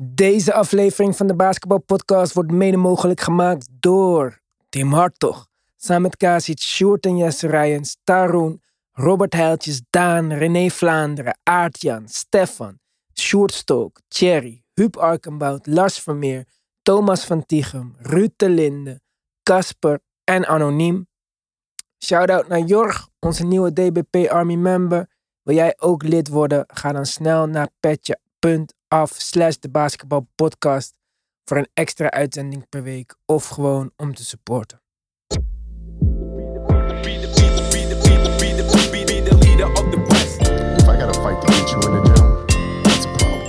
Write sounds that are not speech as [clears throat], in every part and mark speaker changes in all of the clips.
Speaker 1: Deze aflevering van de Basketbal Podcast wordt mede mogelijk gemaakt door Tim Hartog. Samen met Kasic, Sjoerd en Jesse Rijens, Tarun, Robert Heiltjes, Daan, René Vlaanderen, Aartjan, Stefan, Sjoerd Stolk, Thierry, Huub Arkenbout, Lars Vermeer, Thomas van Tichem, Ruud de Linde, Casper en Anoniem. Shoutout naar Jorg, onze nieuwe DBP Army member. Wil jij ook lid worden? Ga dan snel naar petje.af slash de basketbalpodcast voor een extra uitzending per week of gewoon om te supporten.
Speaker 2: If I gotta fight to get you in the gym, that's a problem.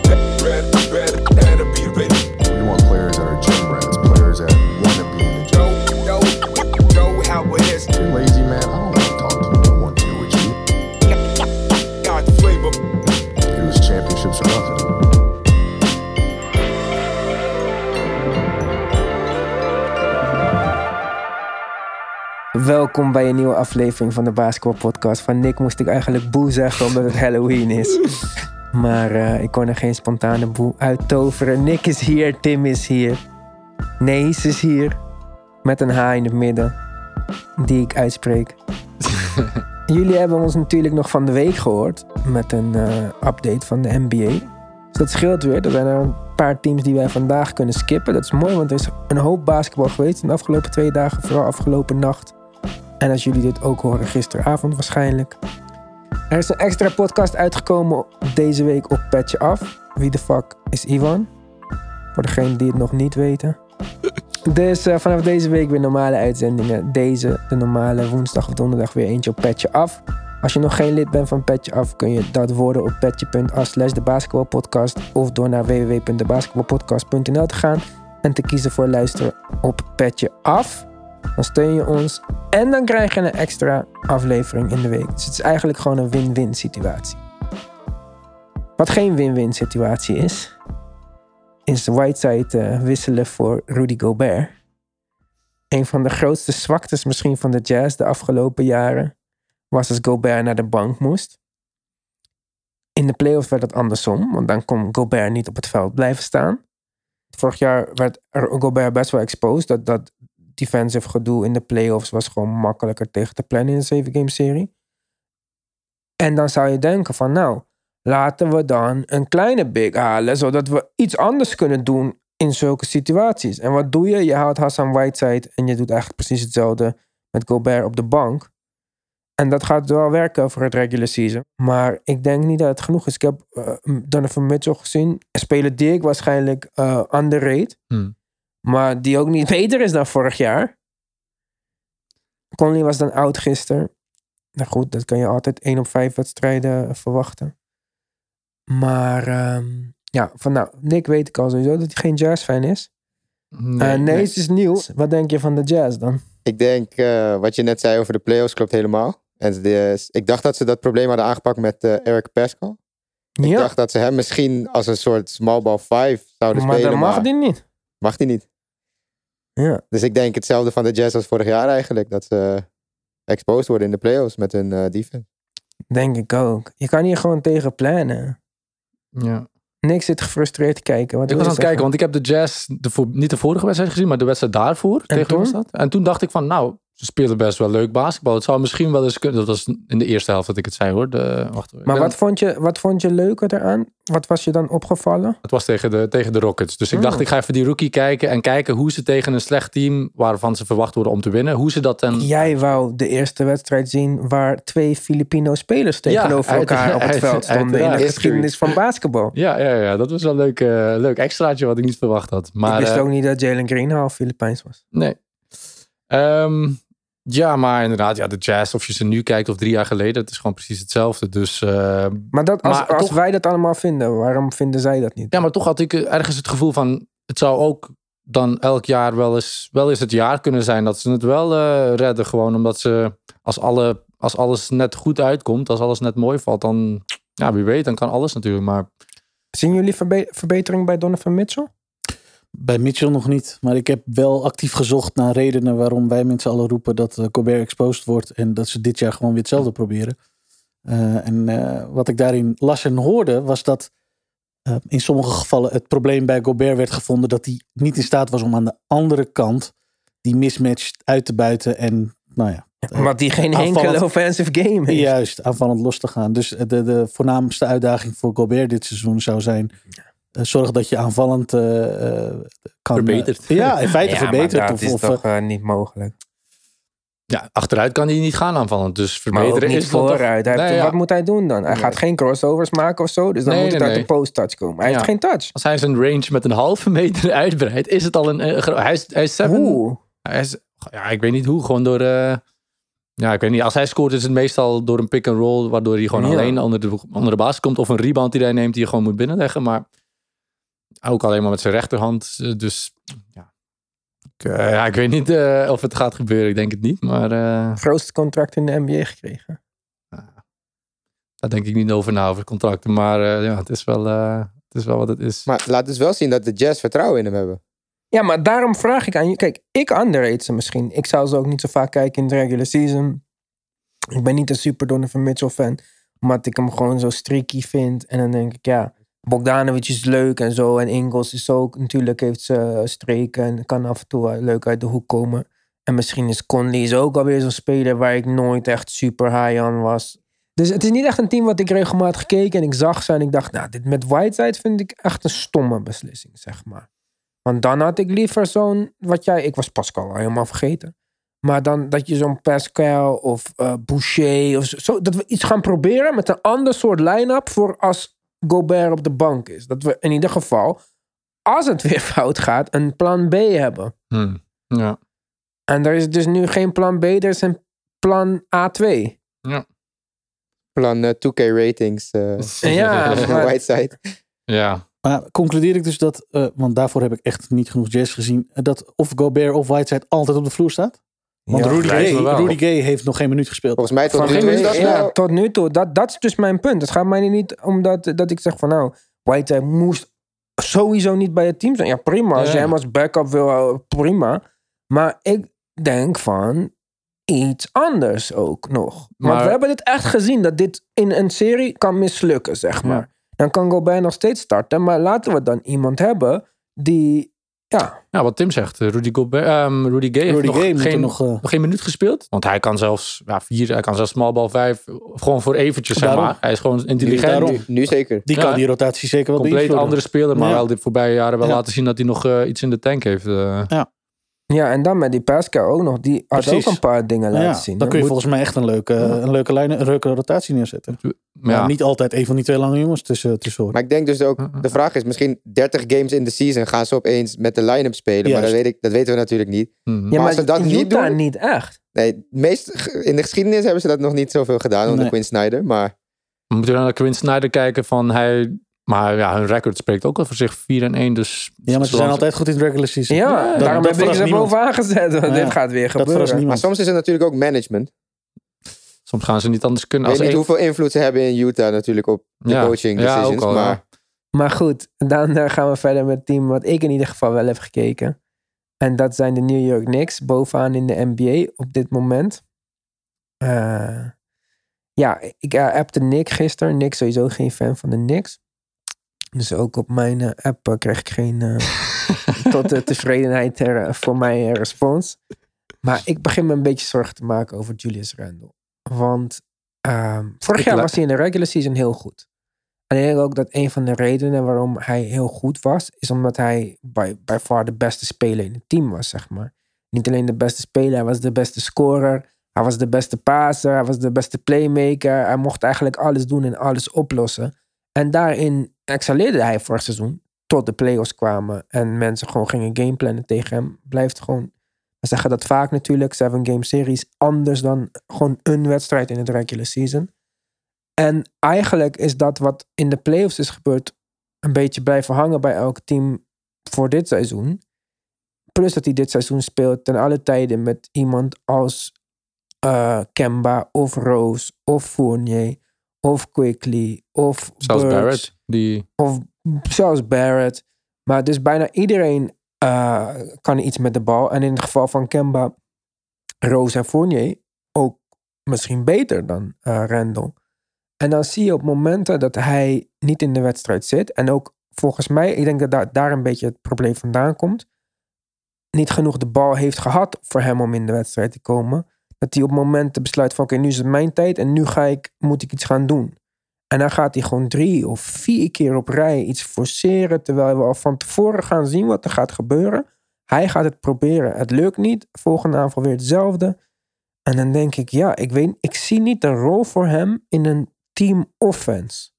Speaker 2: We want players that are gym rats, players that wanna be in the gym. If you're lazy, man, I don't wanna talk to you. I want to deal with you. It was championships or nothing.
Speaker 1: Welkom bij een nieuwe aflevering van de basketbalpodcast. Van Nick moest ik eigenlijk boe zeggen omdat het Halloween is. Maar eh, ik kon er geen spontane boe uit toveren. Nick is hier, Tim is hier. Nees is hier. Met een H in het midden. Die ik uitspreek. Jullie hebben ons natuurlijk nog van de week gehoord. Met een eh, update van de NBA. Dus dat scheelt weer. Er zijn er een paar teams die wij vandaag kunnen skippen. Dat is mooi, want er is een hoop basketbal geweest in de afgelopen twee dagen. Vooral afgelopen nacht. En als jullie dit ook horen, gisteravond waarschijnlijk. Er is een extra podcast uitgekomen deze week op Petje Af. Wie de fuck is Ivan? Voor degenen die het nog niet weten. Dus eh, vanaf deze week weer normale uitzendingen. Deze, de normale woensdag of donderdag weer eentje op Petje Af. Als je nog geen lid bent van Petje Af, kun je dat worden op petje.af slash de basketbalpodcast of door naar www.debasketbalpodcast.nl te gaan en te kiezen voor luisteren op Petje Af. Dan steun je ons en dan krijg je een extra aflevering in de week. Dus het is eigenlijk gewoon een win-win situatie. Wat geen win-win situatie is, is Whiteside eh, wisselen voor Rudy Gobert. Een van de grootste zwaktes misschien van de Jazz de afgelopen jaren was als Gobert naar de bank moest. In de playoffs werd dat andersom, want dan kon Gobert niet op het veld blijven staan. Vorig jaar werd Gobert best wel exposed. Dat, dat defensive gedoe in de playoffs was gewoon makkelijker tegen te plannen in een 7 game serie. En dan zou je denken van nou, laten we dan een kleine big halen, zodat we iets anders kunnen doen in zulke situaties. En wat doe je? Je haalt Hassan Whiteside en je doet eigenlijk precies hetzelfde met Gobert op de bank. En dat gaat wel werken voor het regular season. Maar ik denk niet dat het genoeg is. Ik heb eh, Donovan Mitchell gezien. Een speler die ik waarschijnlijk eh underrated.
Speaker 3: Hmm.
Speaker 1: Maar die ook niet [laughs] beter is dan vorig jaar. Conley was dan oud gisteren. Nou goed, dat kan je altijd 1 op 5 wedstrijden eh, verwachten. Maar ehm, ja, van nou, Nick weet ik al sowieso dat hij geen jazz-fan is.
Speaker 3: Nee,
Speaker 1: Nee, nee, het is nieuw. Wat denk je van de jazz dan?
Speaker 4: Ik denk, eh, wat je net zei over de playoffs klopt helemaal. En het is- ik dacht dat ze dat probleem hadden aangepakt met eh, Eric Pascal. Ik
Speaker 1: Ja,
Speaker 4: dacht dat ze hem misschien als een soort small ball 5
Speaker 3: oh,
Speaker 4: zouden
Speaker 1: maar
Speaker 4: spelen.
Speaker 1: dat mag
Speaker 4: maar
Speaker 1: die niet.
Speaker 4: mag die niet.
Speaker 1: Ja.
Speaker 4: Dus ik denk hetzelfde van de Jazz als vorig jaar eigenlijk. Dat ze exposed worden in de playoffs met hun eh, defense.
Speaker 1: Denk ik ook. Je kan hier gewoon tegen plannen.
Speaker 3: Ja.
Speaker 1: Niks zit gefrustreerd te kijken. Wat
Speaker 3: Ik
Speaker 1: wil
Speaker 3: was aan
Speaker 1: je
Speaker 3: het kijken,
Speaker 1: zeggen?
Speaker 3: want ik heb de Jazz de voor- niet de vorige wedstrijd gezien, maar de wedstrijd daarvoor. tegen wie
Speaker 1: toen?
Speaker 3: was dat? En toen dacht ik van, nou, ze spelen best wel leuk basketbal. Het zou misschien wel eens kunnen. Dat was in de eerste helft dat ik het zei hoor. De, wacht, ik
Speaker 1: Maar
Speaker 3: ben-
Speaker 1: wat vond, je, wat vond je leuker eraan? Wat was je dan opgevallen?
Speaker 3: Het was tegen de, tegen de Rockets. Dus ik
Speaker 1: Hmm.
Speaker 3: dacht, ik ga even die rookie kijken en kijken hoe ze tegen een slecht team, waarvan ze verwacht worden om te winnen, hoe ze dat dan...
Speaker 1: Jij wou de eerste wedstrijd zien waar twee Filipino spelers
Speaker 3: Ja,
Speaker 1: tegenover
Speaker 3: uit-
Speaker 1: elkaar op het
Speaker 3: uit-
Speaker 1: veld stonden in de
Speaker 3: uiteraard.
Speaker 1: geschiedenis van basketbal.
Speaker 3: Ja, ja, ja, dat was wel een leuk, eh, leuk extraatje wat ik niet verwacht had. Maar,
Speaker 1: ik wist
Speaker 3: eh,
Speaker 1: ook niet dat Jalen Green half Filipijns was.
Speaker 3: Nee. Ehm, ja, maar inderdaad, ja, de jazz, of je ze nu kijkt of drie jaar geleden, het is gewoon precies hetzelfde. Dus ehm,
Speaker 1: Maar, dat, als,
Speaker 3: Maar
Speaker 1: als
Speaker 3: toch-
Speaker 1: wij dat allemaal vinden, waarom vinden zij dat niet?
Speaker 3: ja, maar toch had ik eh, ergens het gevoel van, het zou ook dan elk jaar wel eens, wel eens het jaar kunnen zijn dat ze het wel eh, redden. Gewoon omdat ze, als, alle, als alles net goed uitkomt, als alles net mooi valt, dan, ja, wie weet, dan kan alles natuurlijk. Maar
Speaker 1: Zien jullie verbe- verbetering bij Donovan Mitchell?
Speaker 5: Bij Mitchell nog niet. Maar ik heb wel actief gezocht naar redenen waarom wij met z'n allen roepen dat eh, Gobert exposed wordt. En dat ze dit jaar gewoon weer hetzelfde proberen. Eh, en eh, wat ik daarin las en hoorde was dat eh, eh, in sommige gevallen het probleem bij Gobert werd gevonden dat hij niet in staat was om aan de andere kant die mismatch uit te buiten en nou ja,
Speaker 1: Omdat die geen
Speaker 5: Aanvallend.
Speaker 1: enkele offensive game heeft.
Speaker 5: juist aanvallend los te gaan. Dus eh, de, de voornaamste uitdaging voor Gobert dit seizoen zou zijn eh, zorg dat je aanvallend eh, eh, kan...
Speaker 3: Verbeterd.
Speaker 5: eh, ja, in
Speaker 1: [laughs]
Speaker 5: feite
Speaker 1: maar
Speaker 5: verbeterd.
Speaker 1: dat
Speaker 5: Of,
Speaker 1: is
Speaker 5: of, eh,
Speaker 1: toch eh, niet mogelijk.
Speaker 3: Ja, achteruit kan hij niet gaan aanvallen. Dus
Speaker 1: Maar ook
Speaker 3: verbeteren
Speaker 1: niet
Speaker 3: is dan toch-
Speaker 1: vooruit. Hij heeft-
Speaker 3: Nee, ja.
Speaker 1: Wat moet hij doen dan? Hij
Speaker 3: Nee.
Speaker 1: gaat geen crossovers maken of zo. Dus dan
Speaker 3: Nee,
Speaker 1: moet het
Speaker 3: nee,
Speaker 1: uit de
Speaker 3: nee.
Speaker 1: post-touch komen. Hij
Speaker 3: Ja.
Speaker 1: heeft geen touch.
Speaker 3: Als hij zijn range met een halve meter [laughs] uitbreidt, is het al een... eh, gro- hij, is, hij is seven.
Speaker 1: Oeh.
Speaker 3: Hij is, ja, ik weet niet hoe. Gewoon door... eh, ja, ik weet niet. Als hij scoort is het meestal door een pick-and-roll, waardoor hij gewoon
Speaker 1: Ja.
Speaker 3: alleen onder de, onder de baas komt. Of een rebound die hij neemt, die je gewoon moet binnenleggen. Maar ook alleen maar met zijn rechterhand. eh, Dus ja, ik, eh, ja, ik weet niet eh, of het gaat gebeuren. Ik denk het niet. Maar eh,
Speaker 1: Grootste contract in de NBA gekregen.
Speaker 3: daar denk ik niet over na, over contracten. Maar eh, ja, het is, wel, eh, het is wel wat het is.
Speaker 4: Maar laat dus wel zien dat de Jazz vertrouwen in hem hebben.
Speaker 1: Ja, maar daarom vraag ik aan je. Kijk, ik underrate ze misschien. Ik zou ze ook niet zo vaak kijken in de regular season. Ik ben niet een super Donovan Mitchell fan. Omdat ik hem gewoon zo streaky vind. En dan denk ik, ja, Bogdanovic is leuk en zo. En Ingles is ook, natuurlijk heeft ze eh, streken. En kan af en toe eh, leuk uit de hoek komen. En misschien is Conley is ook alweer zo'n speler waar ik nooit echt super high aan was. Dus het is niet echt een team wat ik regelmatig keek. En ik zag ze en ik dacht, nou, dit met Whiteside vind ik echt een stomme beslissing, zeg maar. Want dan had ik liever zo'n, wat jij, ik was Pascal al helemaal vergeten. Maar dan dat je zo'n Pascal of eh, Boucher of zo, zo, dat we iets gaan proberen met een ander soort line-up voor als Gobert op de bank is. Dat we in ieder geval, als het [laughs] weer fout gaat, een plan B hebben.
Speaker 3: Hmm. Ja.
Speaker 1: En er is dus nu geen plan B, er is een plan A2.
Speaker 4: Plan eh, 2K ratings, [laughs] eh
Speaker 1: Ja, maar-
Speaker 4: [laughs] Whiteside.
Speaker 3: ja.
Speaker 5: Maar concludeer ik dus dat, eh, want daarvoor heb ik echt niet genoeg jazz gezien, eh, dat of Gobert of Whiteside altijd op de vloer staat? Want
Speaker 1: Ja.
Speaker 5: Rudy,
Speaker 3: lijkt
Speaker 5: Gay,
Speaker 3: me wel. Oh,
Speaker 5: Rudy Gay heeft nog geen minuut gespeeld.
Speaker 4: Volgens mij tot
Speaker 1: Van
Speaker 4: nu
Speaker 1: geen
Speaker 4: toe is
Speaker 1: minuut-
Speaker 4: dat
Speaker 1: ja,
Speaker 4: nou-
Speaker 1: tot nu toe. Dat, dat is dus mijn punt. Het gaat mij niet om dat, dat ik zeg van nou, White moest sowieso niet bij het team zijn. Ja, prima. Als
Speaker 3: Ja.
Speaker 1: jij hem als backup wil houden, prima. Maar ik denk van iets anders ook nog. Want
Speaker 3: Maar-
Speaker 1: we hebben dit echt gezien, dat dit in een serie kan mislukken, zeg
Speaker 3: Ja.
Speaker 1: maar. Dan kan Gobert nog steeds starten, maar laten we dan iemand hebben die, ja,
Speaker 3: Ja, wat Tim zegt, eh, Rudy, Gobert, ehm, Rudy Gay heeft
Speaker 5: Rudy
Speaker 3: nog,
Speaker 5: Gay moet er
Speaker 3: geen, nog...
Speaker 5: nog... eh,
Speaker 3: geen minuut gespeeld. Want hij kan zelfs ja, vier, hij kan zelfs small ball vijf, of gewoon voor eventjes zeg
Speaker 5: Daarom.
Speaker 3: maar. Hij is gewoon intelligent,
Speaker 5: daarom.
Speaker 4: Nu, nu zeker.
Speaker 5: die
Speaker 3: Ja,
Speaker 5: kan
Speaker 3: hè?
Speaker 5: die rotatie zeker wel
Speaker 3: compleet
Speaker 5: beïnvloeden.
Speaker 3: andere speler. Maar
Speaker 5: Ja.
Speaker 3: wel de voorbije jaren wel
Speaker 5: Ja.
Speaker 3: laten zien dat hij nog eh, iets in de tank heeft. eh.
Speaker 1: ja. En dan met die Pascal ook nog, die had
Speaker 5: Precies.
Speaker 1: ook een paar dingen laten
Speaker 5: Ja,
Speaker 1: zien. hè.
Speaker 5: dan kun je
Speaker 1: Moet-
Speaker 5: volgens mij echt een leuke, eh, een leuke, lijn, een leuke rotatie neerzetten.
Speaker 3: maar
Speaker 5: Maar
Speaker 3: ja,
Speaker 5: niet altijd een van die twee lange jongens tussen, tussendoor.
Speaker 4: Maar ik denk dus ook, de vraag is misschien 30 games in de season gaan ze opeens met de line-up spelen. Maar dat,
Speaker 5: Juist.
Speaker 4: weet ik, dat weten we natuurlijk niet.
Speaker 3: mhm.
Speaker 1: Ja,
Speaker 4: Maar
Speaker 1: maar,
Speaker 4: als ze dat niet
Speaker 1: Utah
Speaker 4: doen-
Speaker 1: niet echt.
Speaker 4: Nee, meest, in de geschiedenis hebben ze dat nog niet zoveel gedaan onder
Speaker 5: Nee.
Speaker 4: Quinn Snyder. Maar
Speaker 3: We moeten naar Quinn Snyder kijken van hij... Maar ja, hun record spreekt ook al voor zich 4 en 1. Dus
Speaker 5: ja, maar ze zijn
Speaker 3: zolang-
Speaker 5: altijd goed in de regular season.
Speaker 1: Ja, daarom
Speaker 5: dat, dat
Speaker 1: heb ik
Speaker 5: verrast
Speaker 1: ze
Speaker 5: niemand. Nou
Speaker 1: bovenaan gezet. want
Speaker 5: Ja,
Speaker 1: dit gaat weer
Speaker 5: Dat verrast
Speaker 1: gebeuren.
Speaker 4: Maar
Speaker 5: niemand.
Speaker 4: soms is het natuurlijk ook management.
Speaker 3: Soms gaan ze niet anders kunnen.
Speaker 4: Ik weet
Speaker 3: Als
Speaker 4: niet
Speaker 3: één-
Speaker 4: hoeveel invloed ze hebben in Utah natuurlijk op de
Speaker 3: Ja.
Speaker 4: coaching
Speaker 3: Ja, ook
Speaker 4: decisions.
Speaker 3: al, ja.
Speaker 4: maar
Speaker 1: Maar goed, dan eh, gaan we verder met het team wat ik in ieder geval wel heb gekeken. En dat zijn de New York Knicks, bovenaan in de NBA op dit moment. Eh, ja, ik eh, appte Nick gisteren. Nick sowieso geen fan van de Knicks. Dus ook op mijn eh, app eh, kreeg ik geen
Speaker 3: [laughs]
Speaker 1: eh, tot de tevredenheid er, eh, voor mij eh, respons. Maar ik begin me een beetje zorgen te maken over Julius Randle. Want ehm, vorig
Speaker 3: Ik
Speaker 1: jaar
Speaker 3: la-
Speaker 1: was hij in de regular season heel goed. En ik denk ook dat een van de redenen waarom hij heel goed was, is omdat hij bij, bij far de beste speler in het team was, zeg maar. Niet alleen de beste speler, hij was de beste scorer. Hij was de beste passer, hij was de beste playmaker. Hij mocht eigenlijk alles doen en alles oplossen. En daarin excelleerde hij vorig seizoen. Tot de playoffs kwamen en mensen gewoon gingen gameplannen tegen hem. Blijft gewoon, we zeggen dat vaak natuurlijk, seven game series, anders dan gewoon een wedstrijd in het regular season. En eigenlijk is dat wat in de playoffs is gebeurd, een beetje blijven hangen bij elk team voor dit seizoen. Plus dat hij dit seizoen speelt ten alle tijden met iemand als eh, Kemba of Rose of Fournier of Quickly of
Speaker 3: Zelfs
Speaker 1: Burks
Speaker 3: Barrett, die...
Speaker 1: of zelfs Barrett. Maar dus bijna iedereen eh, kan iets met de bal. En in het geval van Kemba, Rose en Fournier ook misschien beter dan eh Randall. En dan zie je op momenten dat hij niet in de wedstrijd zit en ook volgens mij, ik denk dat daar, daar een beetje het probleem vandaan komt. Niet genoeg de bal heeft gehad voor hem om in de wedstrijd te komen. Dat hij op momenten besluit van oké, nu is het mijn tijd en nu ga ik, moet ik iets gaan doen. En dan gaat hij gewoon drie of vier keer op rij iets forceren. Terwijl we al van tevoren gaan zien wat er gaat gebeuren. Hij gaat het proberen. Het lukt niet. Volgende aanval weer hetzelfde. En dan denk ik, ja, ik, weet, ik zie niet een rol voor hem in een team offense.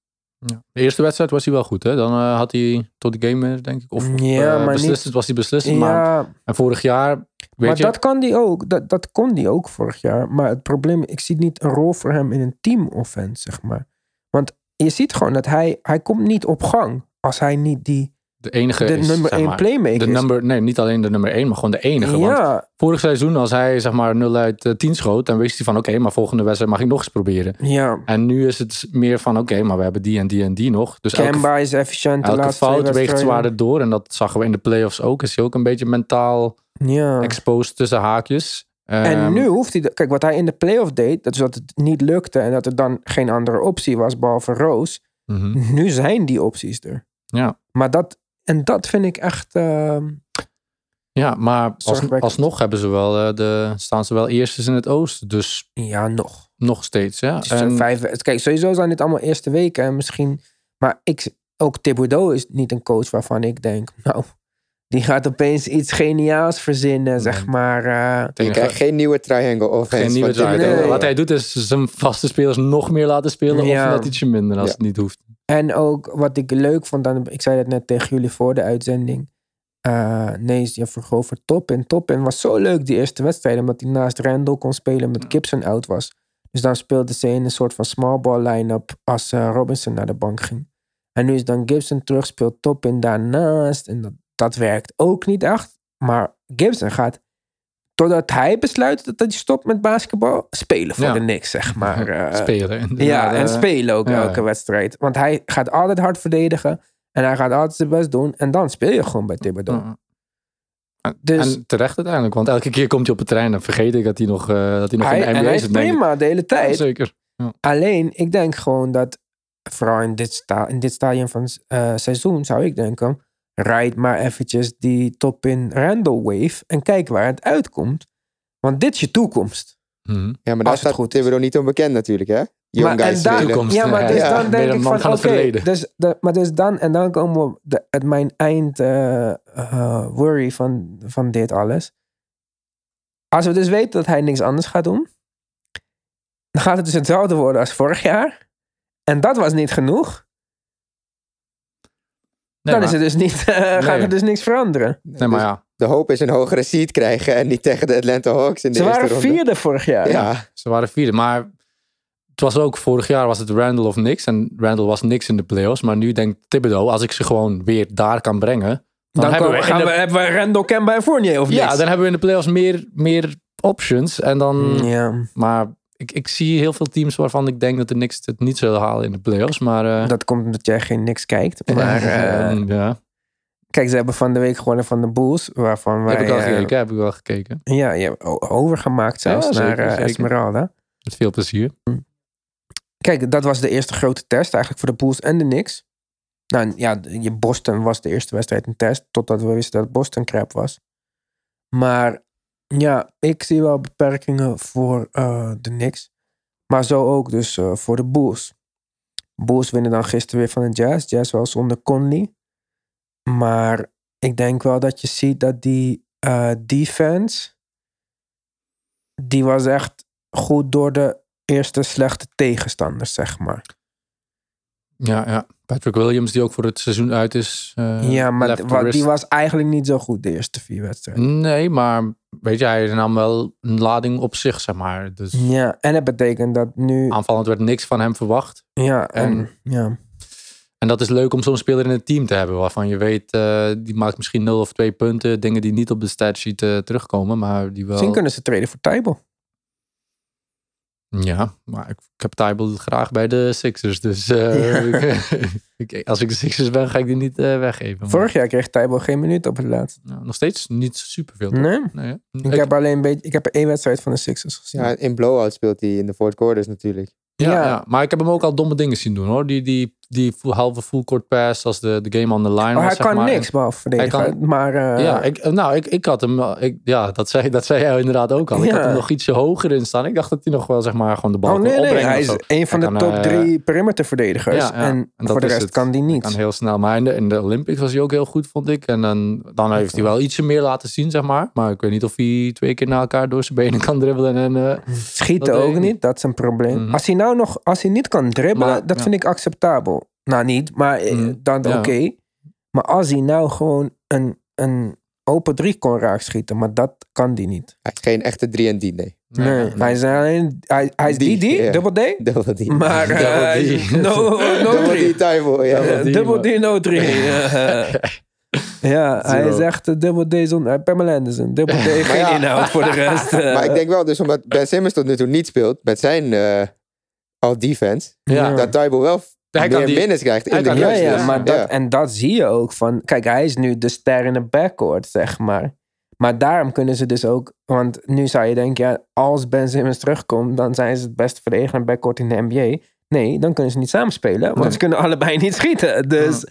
Speaker 3: Ja. De eerste wedstrijd was hij wel goed, hè? Dan eh, had hij tot de game, winner, denk ik. Of
Speaker 1: Ja,
Speaker 3: eh,
Speaker 1: maar niet-
Speaker 3: beslissend was hij beslissend. Maar,
Speaker 1: Ja,
Speaker 3: en vorig jaar, weet
Speaker 1: maar
Speaker 3: je...
Speaker 1: dat kan die ook. Dat, dat kon die ook vorig jaar. Maar het probleem, ik zie niet een rol voor hem in een team offense, zeg maar. Want je ziet gewoon dat hij, hij komt niet op gang als hij niet die
Speaker 3: de enige
Speaker 1: de
Speaker 3: is,
Speaker 1: nummer
Speaker 3: zeg
Speaker 1: één
Speaker 3: maar.
Speaker 1: playmaker
Speaker 3: de
Speaker 1: is.
Speaker 3: number, nee, niet alleen de nummer 1, maar gewoon de enige. Want
Speaker 1: ja,
Speaker 3: vorig seizoen, als hij zeg maar 0 uit eh, 10 schoot, dan wist hij van oké, maar volgende wedstrijd mag ik nog eens proberen.
Speaker 1: ja.
Speaker 3: En nu is het meer van oké, maar we hebben die en die en die nog. Dus elke,
Speaker 1: Kemba is efficiënt. de
Speaker 3: elke
Speaker 1: laatste twee
Speaker 3: fout weegt
Speaker 1: wedstrijden.
Speaker 3: zwaarder door. En dat zagen we in de playoffs ook. Is hij ook een beetje mentaal
Speaker 1: Ja.
Speaker 3: exposed tussen haakjes.
Speaker 1: En
Speaker 3: Ehm,
Speaker 1: nu hoeft hij... de- Kijk, wat hij in de playoff deed... dat is dat het niet lukte... en dat er dan geen andere optie was behalve Roos.
Speaker 3: mhm.
Speaker 1: Nu zijn die opties er.
Speaker 3: Ja.
Speaker 1: Maar dat... En dat vind ik echt... ehm,
Speaker 3: Ja, maar als,
Speaker 1: Zorgwekkend.
Speaker 3: alsnog hebben ze wel, eh, de, staan ze wel eerstes in het oosten. Dus
Speaker 1: ja, nog.
Speaker 3: nog steeds. Ja.
Speaker 1: Het is een
Speaker 3: En-
Speaker 1: vijf, het- kijk, sowieso zijn dit allemaal eerste weken. En misschien... Maar ik... Ook Thibodeau is niet een coach waarvan ik denk... [laughs] Nou, die gaat opeens iets geniaals verzinnen, zeg maar. eh.
Speaker 3: het enige-
Speaker 4: Je krijgt geen nieuwe triangle offense.
Speaker 3: geen nieuwe
Speaker 4: van Jimmy
Speaker 3: draai.
Speaker 1: Nee.
Speaker 4: Butler.
Speaker 3: Wat hij doet is zijn vaste spelers nog meer laten spelen.
Speaker 1: Ja.
Speaker 3: Of net ietsje minder als
Speaker 4: Ja.
Speaker 3: het niet hoeft.
Speaker 1: En ook wat ik leuk vond, aan, ik zei dat net tegen jullie voor de uitzending. Eh nee, je vroeg over Toppin. Toppin was zo leuk die eerste wedstrijd, omdat hij naast Randall kon spelen omdat
Speaker 3: Mm.
Speaker 1: Gibson oud was. Dus dan speelde ze in een soort van small ball line-up als eh, Robinson naar de bank ging. En nu is dan Gibson terug, speelt Toppin daarnaast. En dat, dat werkt ook niet echt. Maar Gibson gaat, totdat hij besluit dat hij stopt met basketbal, spelen voor
Speaker 3: Ja.
Speaker 1: de niks, zeg
Speaker 3: [laughs]
Speaker 1: maar. eh.
Speaker 3: spelen.
Speaker 1: Ja, en
Speaker 3: eh,
Speaker 1: spelen ook
Speaker 3: ja.
Speaker 1: elke wedstrijd. Want hij gaat altijd hard verdedigen. En hij gaat altijd zijn best doen. En dan speel je gewoon bij Thibodeau.
Speaker 3: ja.
Speaker 1: Mm. Dus
Speaker 3: En terecht uiteindelijk, want elke keer komt hij op het trein en vergeet ik dat hij nog, eh, dat hij nog
Speaker 1: hij,
Speaker 3: in de
Speaker 1: en
Speaker 3: NBA
Speaker 1: hij
Speaker 3: zit.
Speaker 1: is
Speaker 3: denk ik.
Speaker 1: prima de hele
Speaker 3: Ja,
Speaker 1: tijd.
Speaker 3: zeker.
Speaker 1: Alleen, ik denk gewoon dat... Vooral in dit, sta, in dit stadium van eh, seizoen zou ik denken... Rijd maar eventjes die top in Randall wave. En kijk waar het uitkomt. Want dit is je toekomst.
Speaker 3: Mhm.
Speaker 4: Ja, maar
Speaker 1: Als
Speaker 4: daar
Speaker 1: het
Speaker 4: staat
Speaker 1: goed is.
Speaker 4: Thibodeau niet onbekend natuurlijk, hè? Young
Speaker 1: Maar-
Speaker 4: guys
Speaker 1: en daar-
Speaker 4: spelen.
Speaker 3: Toekomst.
Speaker 1: Ja, maar dus
Speaker 4: Ja,
Speaker 1: dan denk
Speaker 3: weer
Speaker 1: ik van,
Speaker 3: een man
Speaker 1: oké,
Speaker 3: van het verleden.
Speaker 1: dus, de- maar dus dan, en dan komen we op de, het, mijn eind eh, eh, worry van, van dit alles. Als we dus weten dat hij niks anders gaat doen, dan gaat het dus hetzelfde worden als vorig jaar. En dat was niet genoeg. dan
Speaker 3: Nee, maar,
Speaker 1: is het dus niet, [laughs] eh, gaat
Speaker 3: Nee.
Speaker 1: er dus niks veranderen.
Speaker 3: nee, maar ja,
Speaker 4: De hoop is een hogere seed krijgen en niet tegen de Atlanta Hawks in de
Speaker 1: Ze
Speaker 4: eerste
Speaker 1: waren
Speaker 4: ronde.
Speaker 1: vierde vorig jaar.
Speaker 4: Ja,
Speaker 3: ze waren vierde. Maar het was ook, vorig jaar was het Randall of niks. En Randall was niks in de playoffs. Maar nu denkt Thibodeau, als ik ze gewoon weer daar kan brengen. Dan,
Speaker 1: Dan,
Speaker 3: hebben
Speaker 1: komen-
Speaker 3: we, in
Speaker 1: gaan
Speaker 3: de-
Speaker 1: we, hebben we Randall, Kemba en Fournier of
Speaker 3: ja,
Speaker 1: niks.
Speaker 3: dan hebben we in de playoffs meer, meer options. En dan,
Speaker 1: Mm, ja,
Speaker 3: Maar ik, ik zie heel veel teams waarvan ik denk dat de Knicks het niet zullen halen in de playoffs. Maar, eh, [laughs]
Speaker 1: dat komt omdat jij geen niks kijkt. Maar, eh,
Speaker 3: eh, ja.
Speaker 1: Kijk, ze hebben van de week gewonnen van de Bulls. Waarvan wij
Speaker 3: heb ik wel
Speaker 1: eh,
Speaker 3: gekeken, heb ik wel gekeken.
Speaker 1: ja, ja, o- overgemaakt zelfs
Speaker 3: Ja, zeker,
Speaker 1: naar eh,
Speaker 3: zeker.
Speaker 1: Esmeralda.
Speaker 3: Met veel plezier.
Speaker 1: Kijk, dat was de eerste grote test eigenlijk voor de Bulls en de Knicks. Nou en ja, je Boston was de eerste wedstrijd een test. Totdat we wisten dat Boston crap was. Maar ja, ik zie wel beperkingen voor eh, de Knicks. Maar zo ook dus eh, voor de Bulls. Bulls winnen dan gisteren weer van de Jazz. Jazz wel zonder Conley. Maar ik denk wel dat je ziet dat die eh, defense... Die was echt goed door de eerste slechte tegenstanders, zeg maar.
Speaker 3: Ja, ja. Patrick Williams, die ook voor het seizoen uit is. eh,
Speaker 1: ja, maar
Speaker 3: left
Speaker 1: d-
Speaker 3: to
Speaker 1: wat,
Speaker 3: wrist.
Speaker 1: die was eigenlijk niet zo goed de eerste vier wedstrijden.
Speaker 3: Nee, maar weet je, hij nam wel een lading op zich, zeg maar. Dus
Speaker 1: Ja, en dat betekent dat nu...
Speaker 3: aanvallend werd niks van hem verwacht.
Speaker 1: Ja, en,
Speaker 3: en-
Speaker 1: ja.
Speaker 3: En dat is leuk om zo'n speler in het team te hebben. Waarvan je weet, eh, die maakt misschien 0 of 2 punten. Dingen die niet op de statsheet eh, terugkomen, maar die wel...
Speaker 1: Misschien kunnen ze treden voor Tybal.
Speaker 3: Ja, maar ik, ik heb Tybal graag bij de Sixers. Dus eh, [laughs] ik- ik- als ik de Sixers ben, ga ik die niet eh, weggeven. Maar,
Speaker 1: Vorig jaar kreeg Tybal geen minuut op het laatst.
Speaker 3: nou, nog steeds niet superveel. toch?
Speaker 1: Nee?
Speaker 3: Nee, hè?
Speaker 1: Mm. Ik
Speaker 3: Ik-
Speaker 1: heb alleen een beetje... Ik heb één wedstrijd van de Sixers gezien. Oh,
Speaker 4: ja, in blowout speelt hij in de fourth quarters natuurlijk.
Speaker 3: ja,
Speaker 1: ja.
Speaker 3: ja, maar ik heb hem ook al domme dingen zien doen hoor. Die, die die full- halve full court pass als de, de game on the line was.
Speaker 1: Maar Oh, hij
Speaker 3: zeg
Speaker 1: kan
Speaker 3: maar.
Speaker 1: niks behalve verdedigen.
Speaker 3: Hij
Speaker 1: maar eh,
Speaker 3: Ja, ik, nou, ik, ik had hem. wel- Ik, ja, dat zei, dat zei jij inderdaad ook al. Ik
Speaker 1: Ja.
Speaker 3: had hem nog ietsje hoger in staan. Ik dacht dat hij nog wel, zeg maar, gewoon de bal
Speaker 1: oh
Speaker 3: kon
Speaker 1: nee, nee.
Speaker 3: opbrengen.
Speaker 1: Hij
Speaker 3: of
Speaker 1: is
Speaker 3: zo.
Speaker 1: een van
Speaker 3: Hij
Speaker 1: de
Speaker 3: kan,
Speaker 1: top
Speaker 3: eh,
Speaker 1: drie perimeterverdedigers.
Speaker 3: Ja, ja.
Speaker 1: En,
Speaker 3: En dat
Speaker 1: voor de
Speaker 3: is
Speaker 1: rest
Speaker 3: het.
Speaker 1: kan die
Speaker 3: Kan
Speaker 1: niet.
Speaker 3: heel snel. Maar in de, in de Olympics was hij ook heel goed, vond ik. En dan, dan heeft hij wel ietsje meer laten zien, zeg maar. Maar ik weet niet of hij twee keer na elkaar door zijn benen kan dribbelen. En, eh,
Speaker 1: Schieten
Speaker 3: Dat weet
Speaker 1: ook
Speaker 3: ik
Speaker 1: niet.
Speaker 3: niet.
Speaker 1: dat is een probleem.
Speaker 3: Mhm.
Speaker 1: Als hij nou nog, als hij niet kan dribbelen,
Speaker 3: Maar-
Speaker 1: dat
Speaker 3: ja.
Speaker 1: vind ik acceptabel. Nou, niet, maar eh,
Speaker 3: Mhm.
Speaker 1: dan
Speaker 3: Ja.
Speaker 1: oké. Maar als hij nou gewoon een, een open drie kon raakschieten, maar dat kan die niet.
Speaker 4: Hij is geen echte 3 en D, nee. [laughs]
Speaker 1: Nee, Hij, is alleen, hij, hij is
Speaker 4: Die,
Speaker 1: die, die,
Speaker 4: ja.
Speaker 1: double D.
Speaker 4: Double D.
Speaker 1: Maar eh,
Speaker 3: Double
Speaker 1: hij
Speaker 3: D.
Speaker 1: is- [laughs] no, no
Speaker 4: Double
Speaker 1: three.
Speaker 4: D Tybo, ja.
Speaker 1: [laughs]
Speaker 3: Double D.
Speaker 1: Ja, Double D, no three. Ja. Ja, hij
Speaker 3: Zero.
Speaker 1: is echt een double D zonder... eh, Pamela Anderson, double D, geen
Speaker 4: ja.
Speaker 1: inhoud voor de rest. eh.
Speaker 4: Maar ik denk wel, dus omdat Ben Simmons tot nu toe niet speelt, met zijn eh, all defense,
Speaker 3: Ja.
Speaker 4: dat Tybo wel
Speaker 3: Hij kan
Speaker 4: meer
Speaker 3: die-
Speaker 4: minutes krijgt
Speaker 3: hij
Speaker 4: in de
Speaker 3: kan-
Speaker 1: Ja,
Speaker 4: clutch,
Speaker 1: ja,
Speaker 4: dus,
Speaker 1: maar dat,
Speaker 4: ja.
Speaker 1: en dat zie je ook van... Kijk, hij is nu de ster in de backcourt, zeg maar. Maar daarom kunnen ze dus ook... Want nu zou je denken, ja, als Ben Simmons terugkomt... dan zijn ze het beste verdedigende backcourt in de NBA. Nee, dan kunnen ze niet samenspelen. Want
Speaker 3: Nee.
Speaker 1: ze kunnen [laughs] allebei niet schieten. Dus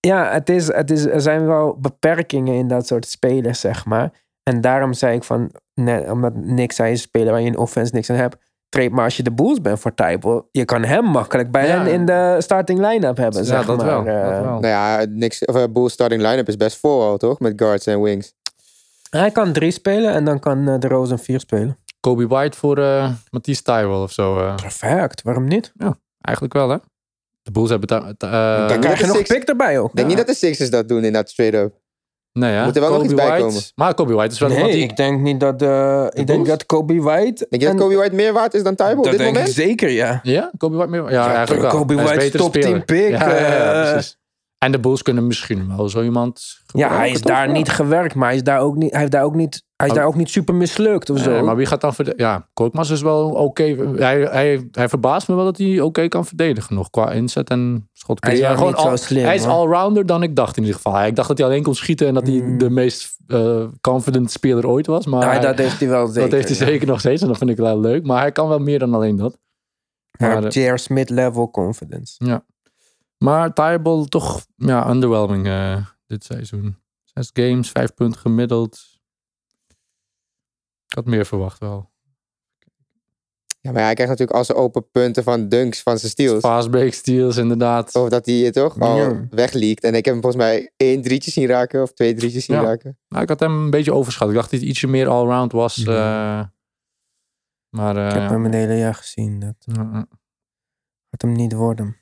Speaker 1: ja, het is, het is, er zijn wel beperkingen in dat soort spelers, zeg maar. En daarom zei ik van... Net, omdat niks zei, spelen waar je in offense niks aan hebt... Treed maar als je de Bulls bent voor Typo. Je kan hem makkelijk bij
Speaker 3: Ja.
Speaker 1: hen in de starting line-up hebben.
Speaker 3: ja,
Speaker 1: zeg
Speaker 3: dat
Speaker 1: maar.
Speaker 3: wel.
Speaker 1: Eh,
Speaker 3: dat wel.
Speaker 4: Nou ja, niks, of, eh, Bulls starting line-up is best vol al, toch? Met guards en wings.
Speaker 1: Hij kan drie spelen en dan kan eh, de Roos een vier spelen.
Speaker 3: Kobe White voor eh Matisse Tyrell of zo. eh.
Speaker 1: Perfect, waarom niet?
Speaker 3: Eigenlijk wel, hè? De Bulls hebben... daar- eh,
Speaker 1: Dan
Speaker 4: Kijk,
Speaker 1: krijg
Speaker 4: de
Speaker 1: je nog
Speaker 4: six-
Speaker 1: pick erbij ook.
Speaker 4: Ik denk
Speaker 1: Ja.
Speaker 4: niet dat de Sixers dat doen in dat straight-up.
Speaker 3: nee, hè?
Speaker 4: Moet er wel nog
Speaker 3: Kobe
Speaker 4: iets bij
Speaker 3: White-
Speaker 4: komen.
Speaker 3: Maar Kobe White is wel...
Speaker 1: Nee,
Speaker 3: want die-
Speaker 1: ik denk niet dat... eh, ik denk
Speaker 3: Bulls?
Speaker 1: dat Kobe White...
Speaker 4: Denk je dat
Speaker 1: en-
Speaker 4: Kobe White meer waard is dan Tybo op
Speaker 1: dat
Speaker 4: dit
Speaker 1: denk ik
Speaker 4: moment?
Speaker 1: zeker, ja.
Speaker 3: Ja, Kobe White meer... Ja, eigenlijk wel.
Speaker 1: Kobe
Speaker 3: Hij is
Speaker 1: White
Speaker 3: betere
Speaker 1: top 10
Speaker 3: speler.
Speaker 1: pick,
Speaker 3: Ja, ja, ja,
Speaker 1: eh.
Speaker 3: precies. En de Bulls kunnen misschien wel zo iemand
Speaker 1: Ja,
Speaker 3: gebruiken,
Speaker 1: hij is
Speaker 3: toch?
Speaker 1: daar
Speaker 3: Ja.
Speaker 1: niet gewerkt, maar hij is daar ook niet, hij heeft daar ook niet, hij is
Speaker 3: Oh.
Speaker 1: daar ook niet super mislukt of zo. Nou,
Speaker 3: Nee, Eh, maar wie gaat dan verdedigen? Ja, Korkmaz is wel oké. Hij, hij, hij verbaast me wel dat hij oké kan verdedigen nog qua inzet en schot.
Speaker 1: Hij is wel niet zo slim,
Speaker 3: Hij is
Speaker 1: hoor.
Speaker 3: allrounder dan ik dacht in ieder geval. Ik dacht dat hij alleen kon schieten en dat hij
Speaker 1: Mm.
Speaker 3: de meest eh, confident speler ooit was. Maar
Speaker 1: Ah,
Speaker 3: hij-
Speaker 1: dat heeft hij wel zeker.
Speaker 3: dat heeft hij
Speaker 1: ja.
Speaker 3: zeker nog steeds en dat vind ik wel leuk. Maar hij kan wel meer dan alleen dat.
Speaker 1: Hij heeft
Speaker 3: Maar, eh,
Speaker 1: J.R. Smith level confidence.
Speaker 3: Maar Tyrell toch ja, underwhelming eh, dit seizoen. Zes games, vijf punten gemiddeld. Ik had meer verwacht wel.
Speaker 4: Ja, maar hij krijgt natuurlijk al zijn open punten van dunks van zijn steals.
Speaker 3: Fast break steals inderdaad.
Speaker 1: Oh,
Speaker 4: Of dat hij eh, toch al
Speaker 1: Ja.
Speaker 4: wegliekt. En ik heb hem volgens mij één drietje zien raken of twee drietjes zien
Speaker 3: Ja.
Speaker 4: raken.
Speaker 3: Nou, ik had hem een beetje overschat. Ik dacht dat hij ietsje meer allround was.
Speaker 1: Mhm.
Speaker 3: eh, maar eh, mm,
Speaker 1: Ik heb hem een hele jaar gezien. Dat
Speaker 3: ja.
Speaker 1: gaat hem niet worden.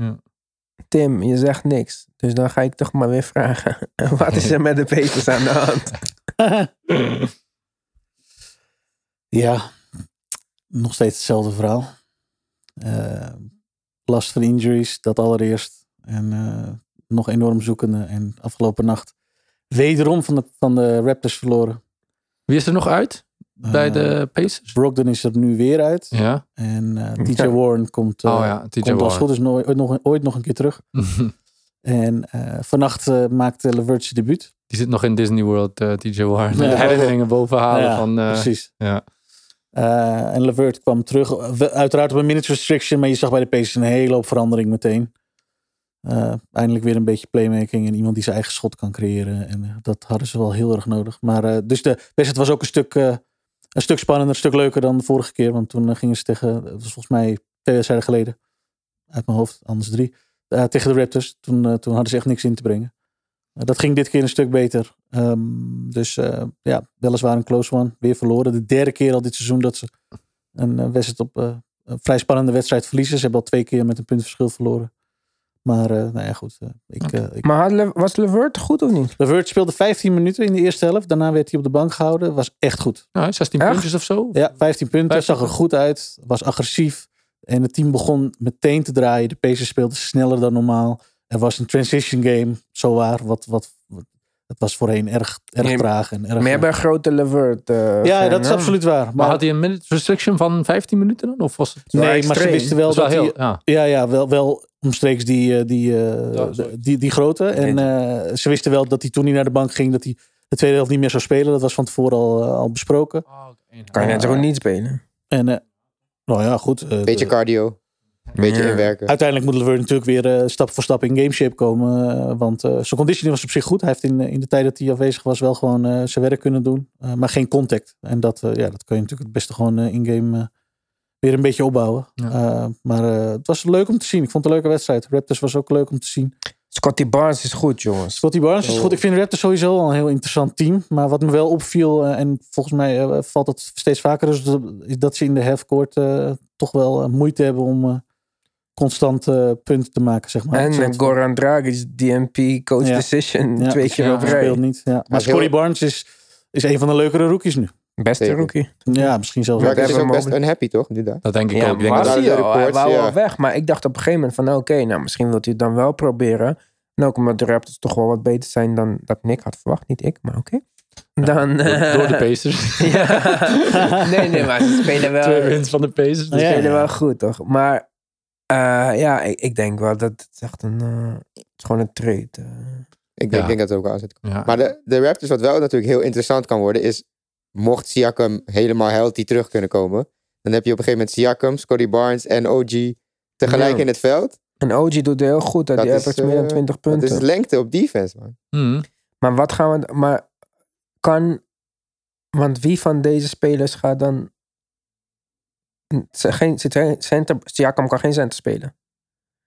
Speaker 3: Ja.
Speaker 1: Tim, je zegt niks. Dus dan ga ik toch maar weer vragen. [laughs] Wat is er met de Pacers aan de hand?
Speaker 5: [laughs] ja, nog steeds hetzelfde verhaal. Eh, last van injuries, dat allereerst. En eh, nog enorm zoekende. En afgelopen nacht wederom van de, van de Raptors verloren.
Speaker 3: Wie is er nog uit bij
Speaker 5: Eh,
Speaker 3: de Pacers?
Speaker 5: Brogdon is er nu weer uit.
Speaker 3: Ja.
Speaker 5: En eh, TJ
Speaker 1: Ja.
Speaker 5: Warren komt, eh,
Speaker 3: oh ja, TJ
Speaker 5: komt als
Speaker 3: Warren.
Speaker 5: goed is nooit- ooit, nog, ooit nog een keer terug. En eh, vannacht eh, maakte Levert zijn
Speaker 3: [laughs]
Speaker 5: debuut.
Speaker 3: Die zit nog in Disney World, eh, TJ Warren. [laughs]
Speaker 5: Ja.
Speaker 3: De herinneringen bovenhalen
Speaker 5: Ja,
Speaker 3: van... eh,
Speaker 5: Precies.
Speaker 3: ja.
Speaker 5: Eh, en Levert kwam terug. Wel- Uiteraard op een minutes restriction, maar je zag bij de Pacers een hele hoop verandering meteen. Eh, eindelijk weer een beetje playmaking en iemand die zijn eigen schot kan creëren. En eh, dat hadden ze wel heel erg nodig. Maar eh, dus de wedstrijd was ook een stuk, eh, een stuk spannender, een stuk leuker dan de vorige keer. Want toen eh, gingen ze tegen, dat was volgens mij twee wedstrijden geleden, uit mijn hoofd, anders drie, eh, tegen de Raptors. Toen, eh, toen hadden ze echt niks in te brengen. Eh, dat ging dit keer een stuk beter. Ehm, dus eh, ja, weliswaar een close one. Weer verloren. De derde keer al dit seizoen dat ze een eh, wedstrijd op eh, een vrij spannende wedstrijd verliezen. Ze hebben al twee keer met een puntverschil verloren. Maar eh, nou ja, goed. eh, ik, eh, ik...
Speaker 1: Maar had Le- was Levert goed of niet?
Speaker 5: Levert speelde 15 minuten in de eerste helft. Daarna werd hij op de bank gehouden. Was echt goed.
Speaker 3: Nou, 16
Speaker 1: Echt?
Speaker 3: puntjes of zo.
Speaker 5: Ja, 15 punten.
Speaker 3: 15
Speaker 5: Zag er goed uit. Was agressief. En het team begon meteen te draaien. De Pacers speelden sneller dan normaal. Er was een transition game. Zowaar. Wat, wat, wat, het was voorheen erg, erg
Speaker 1: Nee,
Speaker 5: traag. En erg,
Speaker 1: Maar jij bent een grote Levert. eh,
Speaker 5: ja,
Speaker 1: fan,
Speaker 5: dat is
Speaker 1: hè?
Speaker 5: absoluut waar. Maar,
Speaker 3: Maar had hij een minute restriction van 15 minuten dan? Of was het...
Speaker 5: nee, maar ze
Speaker 1: extreem.
Speaker 5: wisten
Speaker 3: Dat
Speaker 5: wel
Speaker 3: is wel
Speaker 5: dat,
Speaker 3: heel...
Speaker 5: hij,
Speaker 3: ja.
Speaker 5: Ja, ja wel, wel omstreeks die, eh, die, eh,
Speaker 3: Ja, sorry.
Speaker 5: die, die grote. En eh, ze wisten wel dat hij toen hij naar de bank ging, dat hij de tweede helft niet meer zou spelen. Dat was van tevoren al, eh, al besproken.
Speaker 1: Kan je net zo goed niet spelen.
Speaker 5: En eh, nou ja, goed. eh,
Speaker 4: Beetje
Speaker 5: de-
Speaker 4: cardio. Een beetje
Speaker 1: Ja.
Speaker 4: inwerken.
Speaker 5: Uiteindelijk moet Levert natuurlijk weer eh, stap voor stap in game shape komen. eh, want eh, zijn conditioning was op zich goed. Hij heeft in, eh, in de tijd dat hij afwezig was wel gewoon eh, zijn werk kunnen doen. eh, maar geen contact. En dat, eh, ja, dat kun je natuurlijk het beste gewoon eh, in-game eh, weer een beetje opbouwen.
Speaker 3: Ja.
Speaker 5: Eh, maar eh, het was leuk om te zien. Ik vond het een leuke wedstrijd. Raptors was ook leuk om te zien.
Speaker 1: Scotty Barnes is goed, jongens.
Speaker 5: Scotty Barnes is goed. Ik vind Raptors sowieso al een heel interessant team. Maar wat me wel opviel, eh, en volgens mij eh, valt dat steeds vaker, is dat- is dat ze in de halfcourt eh toch wel eh, moeite hebben om eh, constant eh, punten te maken, zeg maar.
Speaker 1: En
Speaker 5: Een soort
Speaker 1: eh,
Speaker 5: van-
Speaker 1: Goran Dragic, DMP, coach
Speaker 5: Ja.
Speaker 1: decision,
Speaker 5: Ja,
Speaker 1: twee keer
Speaker 3: ja,
Speaker 1: op
Speaker 3: hij
Speaker 1: rij.
Speaker 5: speelt niet. Ja. Maar
Speaker 4: is heel-
Speaker 5: Scotty Barnes is, is een van de leukere rookies nu.
Speaker 1: Beste
Speaker 4: Zeker.
Speaker 1: rookie.
Speaker 5: Ja, misschien zelfs
Speaker 4: Maar
Speaker 1: hebben
Speaker 4: hij is ook
Speaker 1: hem
Speaker 4: best
Speaker 1: over-
Speaker 4: unhappy, toch? Nu dan.
Speaker 3: Dat denk ik
Speaker 1: ja,
Speaker 3: ook. Ik denk
Speaker 1: maar
Speaker 3: dat-
Speaker 1: zie
Speaker 4: dat-
Speaker 1: je wel, hij
Speaker 4: reports,
Speaker 1: wou
Speaker 4: ja.
Speaker 1: wel weg. Maar ik dacht op een gegeven moment van, oké, nou misschien wilt hij het dan wel proberen. En ook omdat de Raptors toch wel wat beter zijn dan dat Nick had verwacht. Niet ik, maar oké. Dan... [laughs]
Speaker 3: door, door de
Speaker 1: eh,
Speaker 3: Pacers.
Speaker 1: ja. Nee, nee, maar ze spelen wel...
Speaker 3: [laughs] Twee wins van de Pacers. Dus
Speaker 5: Ja.
Speaker 1: Ze spelen wel goed, toch? Maar eh, ja, ik, ik denk wel dat het is echt een... eh, het is gewoon een trade. eh.
Speaker 4: Ik denk,
Speaker 3: Ja.
Speaker 4: denk dat het ook aan zit.
Speaker 3: ja.
Speaker 4: Maar de, de Raptors, wat wel natuurlijk heel interessant kan worden, is mocht Siakam helemaal healthy terug kunnen komen, dan heb je op een gegeven moment Siakam, Scotty Barnes en OG tegelijk
Speaker 1: Ja.
Speaker 4: in het veld.
Speaker 1: En OG doet het heel goed. hè.
Speaker 4: Dat
Speaker 1: Die
Speaker 4: is,
Speaker 1: average meer dan
Speaker 4: eh,
Speaker 1: 20
Speaker 4: Dat is
Speaker 1: punten.
Speaker 4: lengte op defense, man.
Speaker 3: Hmm.
Speaker 1: Maar wat gaan we... Maar kan... Want wie van deze spelers gaat dan... Ze- Geen, zit geen center, Siakam kan geen center spelen.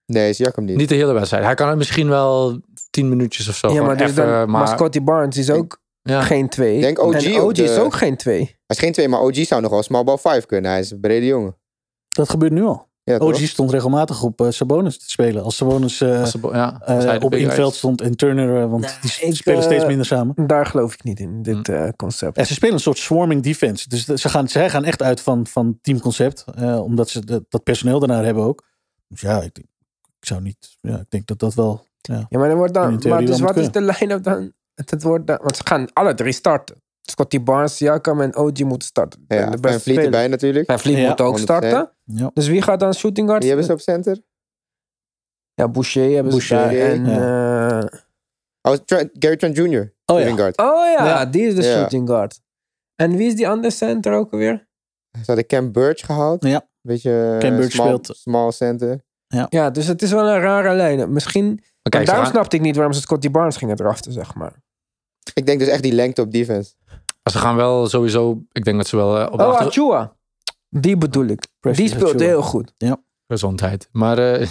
Speaker 4: Nee, Siakam niet.
Speaker 3: Niet de hele wedstrijd. Hij kan het misschien wel tien minuutjes of zo.
Speaker 1: ja,
Speaker 3: gewoon
Speaker 1: maar, dus
Speaker 3: even,
Speaker 1: dan, maar
Speaker 3: maar-
Speaker 1: Scotty Barnes is ook
Speaker 3: ja.
Speaker 1: geen twee.
Speaker 4: Denk OG
Speaker 1: en
Speaker 4: op
Speaker 1: OG is
Speaker 4: de-
Speaker 1: ook geen twee.
Speaker 4: Hij is geen twee, maar OG zou nog wel small ball 5 kunnen. Hij is een brede jongen.
Speaker 5: Dat gebeurt nu al.
Speaker 4: Ja,
Speaker 5: OG
Speaker 4: toch?
Speaker 5: stond regelmatig op eh, Sabonis te spelen. Als Sabonis eh,
Speaker 3: Als de- ja,
Speaker 5: eh,
Speaker 3: als hij de
Speaker 5: op
Speaker 3: big
Speaker 5: in het
Speaker 3: guy
Speaker 5: veld
Speaker 3: is.
Speaker 5: stond en Turner, eh, want
Speaker 1: Nou,
Speaker 5: die s-
Speaker 1: ik,
Speaker 5: spelen steeds
Speaker 1: eh,
Speaker 5: minder samen.
Speaker 1: Daar geloof ik niet in, dit eh, concept.
Speaker 5: Hm. En ze spelen een soort swarming defense. Dus de- ze gaan, zij gaan echt uit van, van teamconcept. eh, omdat ze de- dat personeel daarnaar hebben ook. Dus ja, ik, denk- ik zou niet... Ja, ik denk dat dat wel...
Speaker 1: Ja, maar dan wordt
Speaker 5: In
Speaker 1: dan.
Speaker 5: theorie
Speaker 1: Maar dus
Speaker 5: wel
Speaker 1: wat
Speaker 5: moet
Speaker 1: is de line-up dan? Het, het wordt dan? Want ze gaan alle drie starten. Scotty Barnes, Siakam en OG moeten starten.
Speaker 4: Ja,
Speaker 1: En de beste
Speaker 4: en Vliet
Speaker 1: spelers.
Speaker 4: erbij natuurlijk.
Speaker 1: En Vliet
Speaker 5: Ja,
Speaker 1: moet ook
Speaker 4: 100%.
Speaker 1: starten.
Speaker 5: Ja.
Speaker 1: Dus wie gaat dan shooting guard?
Speaker 4: Die hebben ze op center.
Speaker 1: Ja, Boucher hebben
Speaker 5: Boucher,
Speaker 1: ze daar. En, eh,
Speaker 4: Oh, Trent- Gary Trent Jr.
Speaker 5: Oh
Speaker 4: shooting
Speaker 5: ja,
Speaker 4: guard.
Speaker 1: oh ja,
Speaker 5: Ja.
Speaker 1: die is de
Speaker 4: Ja.
Speaker 1: shooting guard. En wie is die andere center ook alweer?
Speaker 4: Ze hadden Cam Birch gehaald.
Speaker 5: Ja.
Speaker 4: Beetje
Speaker 5: Cam
Speaker 4: eh,
Speaker 5: Birch
Speaker 4: small,
Speaker 5: speelt-
Speaker 4: small center.
Speaker 1: Ja, dus het is wel een rare lijn. Misschien,
Speaker 3: Maar kijk,
Speaker 1: en
Speaker 3: ze
Speaker 1: daarom
Speaker 3: gaan-
Speaker 1: snapte ik niet waarom ze Scotty Barnes gingen draften, zeg maar.
Speaker 4: Ik denk dus echt die lengte op defense.
Speaker 3: Maar Ze gaan wel sowieso, ik denk dat ze wel eh, op de
Speaker 1: Oh,
Speaker 3: achter-
Speaker 1: Achua. Die bedoel ik.
Speaker 5: Preston
Speaker 1: Die speelt
Speaker 5: Achua.
Speaker 1: heel goed.
Speaker 3: gezondheid. Maar
Speaker 1: [laughs]
Speaker 3: eh,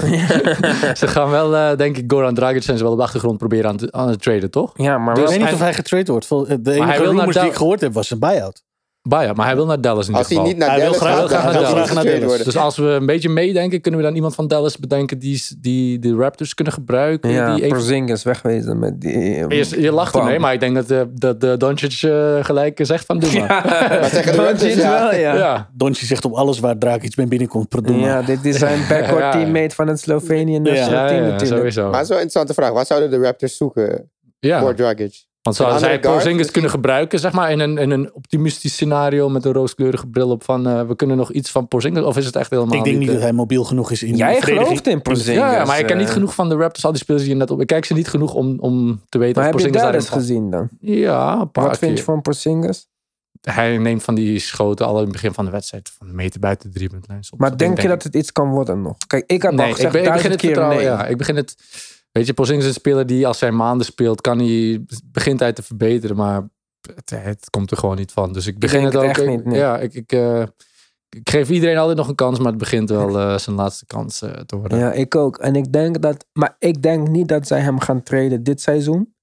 Speaker 3: [laughs] ze gaan wel, eh, denk ik, Goran Dragic zijn ze wel op de achtergrond proberen aan, te, aan het traden, toch?
Speaker 1: Ja, maar
Speaker 5: Ik
Speaker 1: wel
Speaker 5: weet niet
Speaker 3: hij-
Speaker 5: of hij getrade wordt. Vol- eh, De
Speaker 3: hij
Speaker 5: enige
Speaker 3: wil naar
Speaker 5: rumors die
Speaker 3: Dal-
Speaker 5: ik gehoord heb was een buyout.
Speaker 3: Bah ja, maar hij wil naar Dallas in
Speaker 4: Als
Speaker 3: ieder
Speaker 4: hij
Speaker 3: geval.
Speaker 4: niet naar
Speaker 5: Hij wil
Speaker 4: Dallas
Speaker 5: graag-
Speaker 4: gaat,
Speaker 3: hij wil
Speaker 4: dan
Speaker 3: graag
Speaker 4: moet hij
Speaker 5: naar
Speaker 4: getraind worden.
Speaker 5: Dallas.
Speaker 3: Dus als we een beetje meedenken, kunnen we dan iemand van Dallas bedenken die, die de Raptors kunnen gebruiken?
Speaker 1: Ja,
Speaker 3: die even-
Speaker 1: Porzingis wegwezen met die... eh,
Speaker 3: Eerst- je lacht
Speaker 1: bam.
Speaker 3: ermee, maar ik denk dat, eh dat eh, Doncic eh, gelijk zegt van doe maar.
Speaker 1: [laughs] Ja,
Speaker 4: zeggen
Speaker 1: Doncic
Speaker 4: de Raptors, ja.
Speaker 1: wel,
Speaker 3: Ja.
Speaker 1: ja. ja.
Speaker 3: Ja.
Speaker 5: Dontje zegt op alles waar Draak iets mee binnenkomt. Pardon.
Speaker 1: dit is [laughs] zijn backcourt
Speaker 3: Ja.
Speaker 1: teammate van het Slovenië national
Speaker 3: Ja,
Speaker 1: team
Speaker 3: ja,
Speaker 1: natuurlijk.
Speaker 3: sowieso.
Speaker 4: Maar het is wel een interessante vraag. Wat zouden de Raptors zoeken
Speaker 3: Ja,
Speaker 4: voor Dragic?
Speaker 3: want zouden
Speaker 4: Een
Speaker 3: zij
Speaker 4: andere guard
Speaker 3: Porzingis kunnen gebruiken, zeg maar, in een, in een optimistisch scenario met een rooskleurige bril op van eh, we kunnen nog iets van Porzingis, of is het echt helemaal
Speaker 5: ik denk niet
Speaker 3: eh,
Speaker 5: dat hij mobiel genoeg is in de
Speaker 1: Jij
Speaker 5: verdediging.
Speaker 1: gelooft in Porzingis.
Speaker 3: Ja, ja, maar ik ken niet
Speaker 1: eh.
Speaker 3: genoeg van de Raptors, al die spelers die je net op... Ik kijk ze niet genoeg om, om te weten
Speaker 1: Maar
Speaker 3: of
Speaker 1: heb je
Speaker 3: Porzingis
Speaker 1: daar
Speaker 3: daarin
Speaker 1: eens gezien dan?
Speaker 3: Ja, een paar
Speaker 1: Wat vind je
Speaker 3: keer.
Speaker 1: van Porzingis?
Speaker 3: Hij neemt van die schoten al in het begin van de wedstrijd van een meter buiten de driepuntlijn. soms.
Speaker 1: Maar
Speaker 3: Dat
Speaker 1: denk je dat
Speaker 3: ik-
Speaker 1: het iets kan worden nog? Kijk, ik heb
Speaker 3: Nee,
Speaker 1: al
Speaker 3: ik,
Speaker 1: gezegd
Speaker 3: ben- ik begin
Speaker 1: duizend
Speaker 3: het
Speaker 1: keer
Speaker 3: vertrouwen.
Speaker 1: nee.
Speaker 3: Ja, ik begin het... Weet je, Porzingis is een speler die als hij maanden speelt, kan hij... Begint hij te verbeteren, maar het, het komt er gewoon niet van. Dus ik begin
Speaker 1: denk
Speaker 3: het ook...
Speaker 1: het echt
Speaker 3: ik-
Speaker 1: niet, nee.
Speaker 3: Ja, ik... ik eh, ik geef iedereen altijd nog een kans, maar het begint wel eh, zijn laatste kans eh, te worden.
Speaker 1: Ja, ik ook. En ik denk dat, maar ik denk niet dat zij hem gaan traden dit seizoen.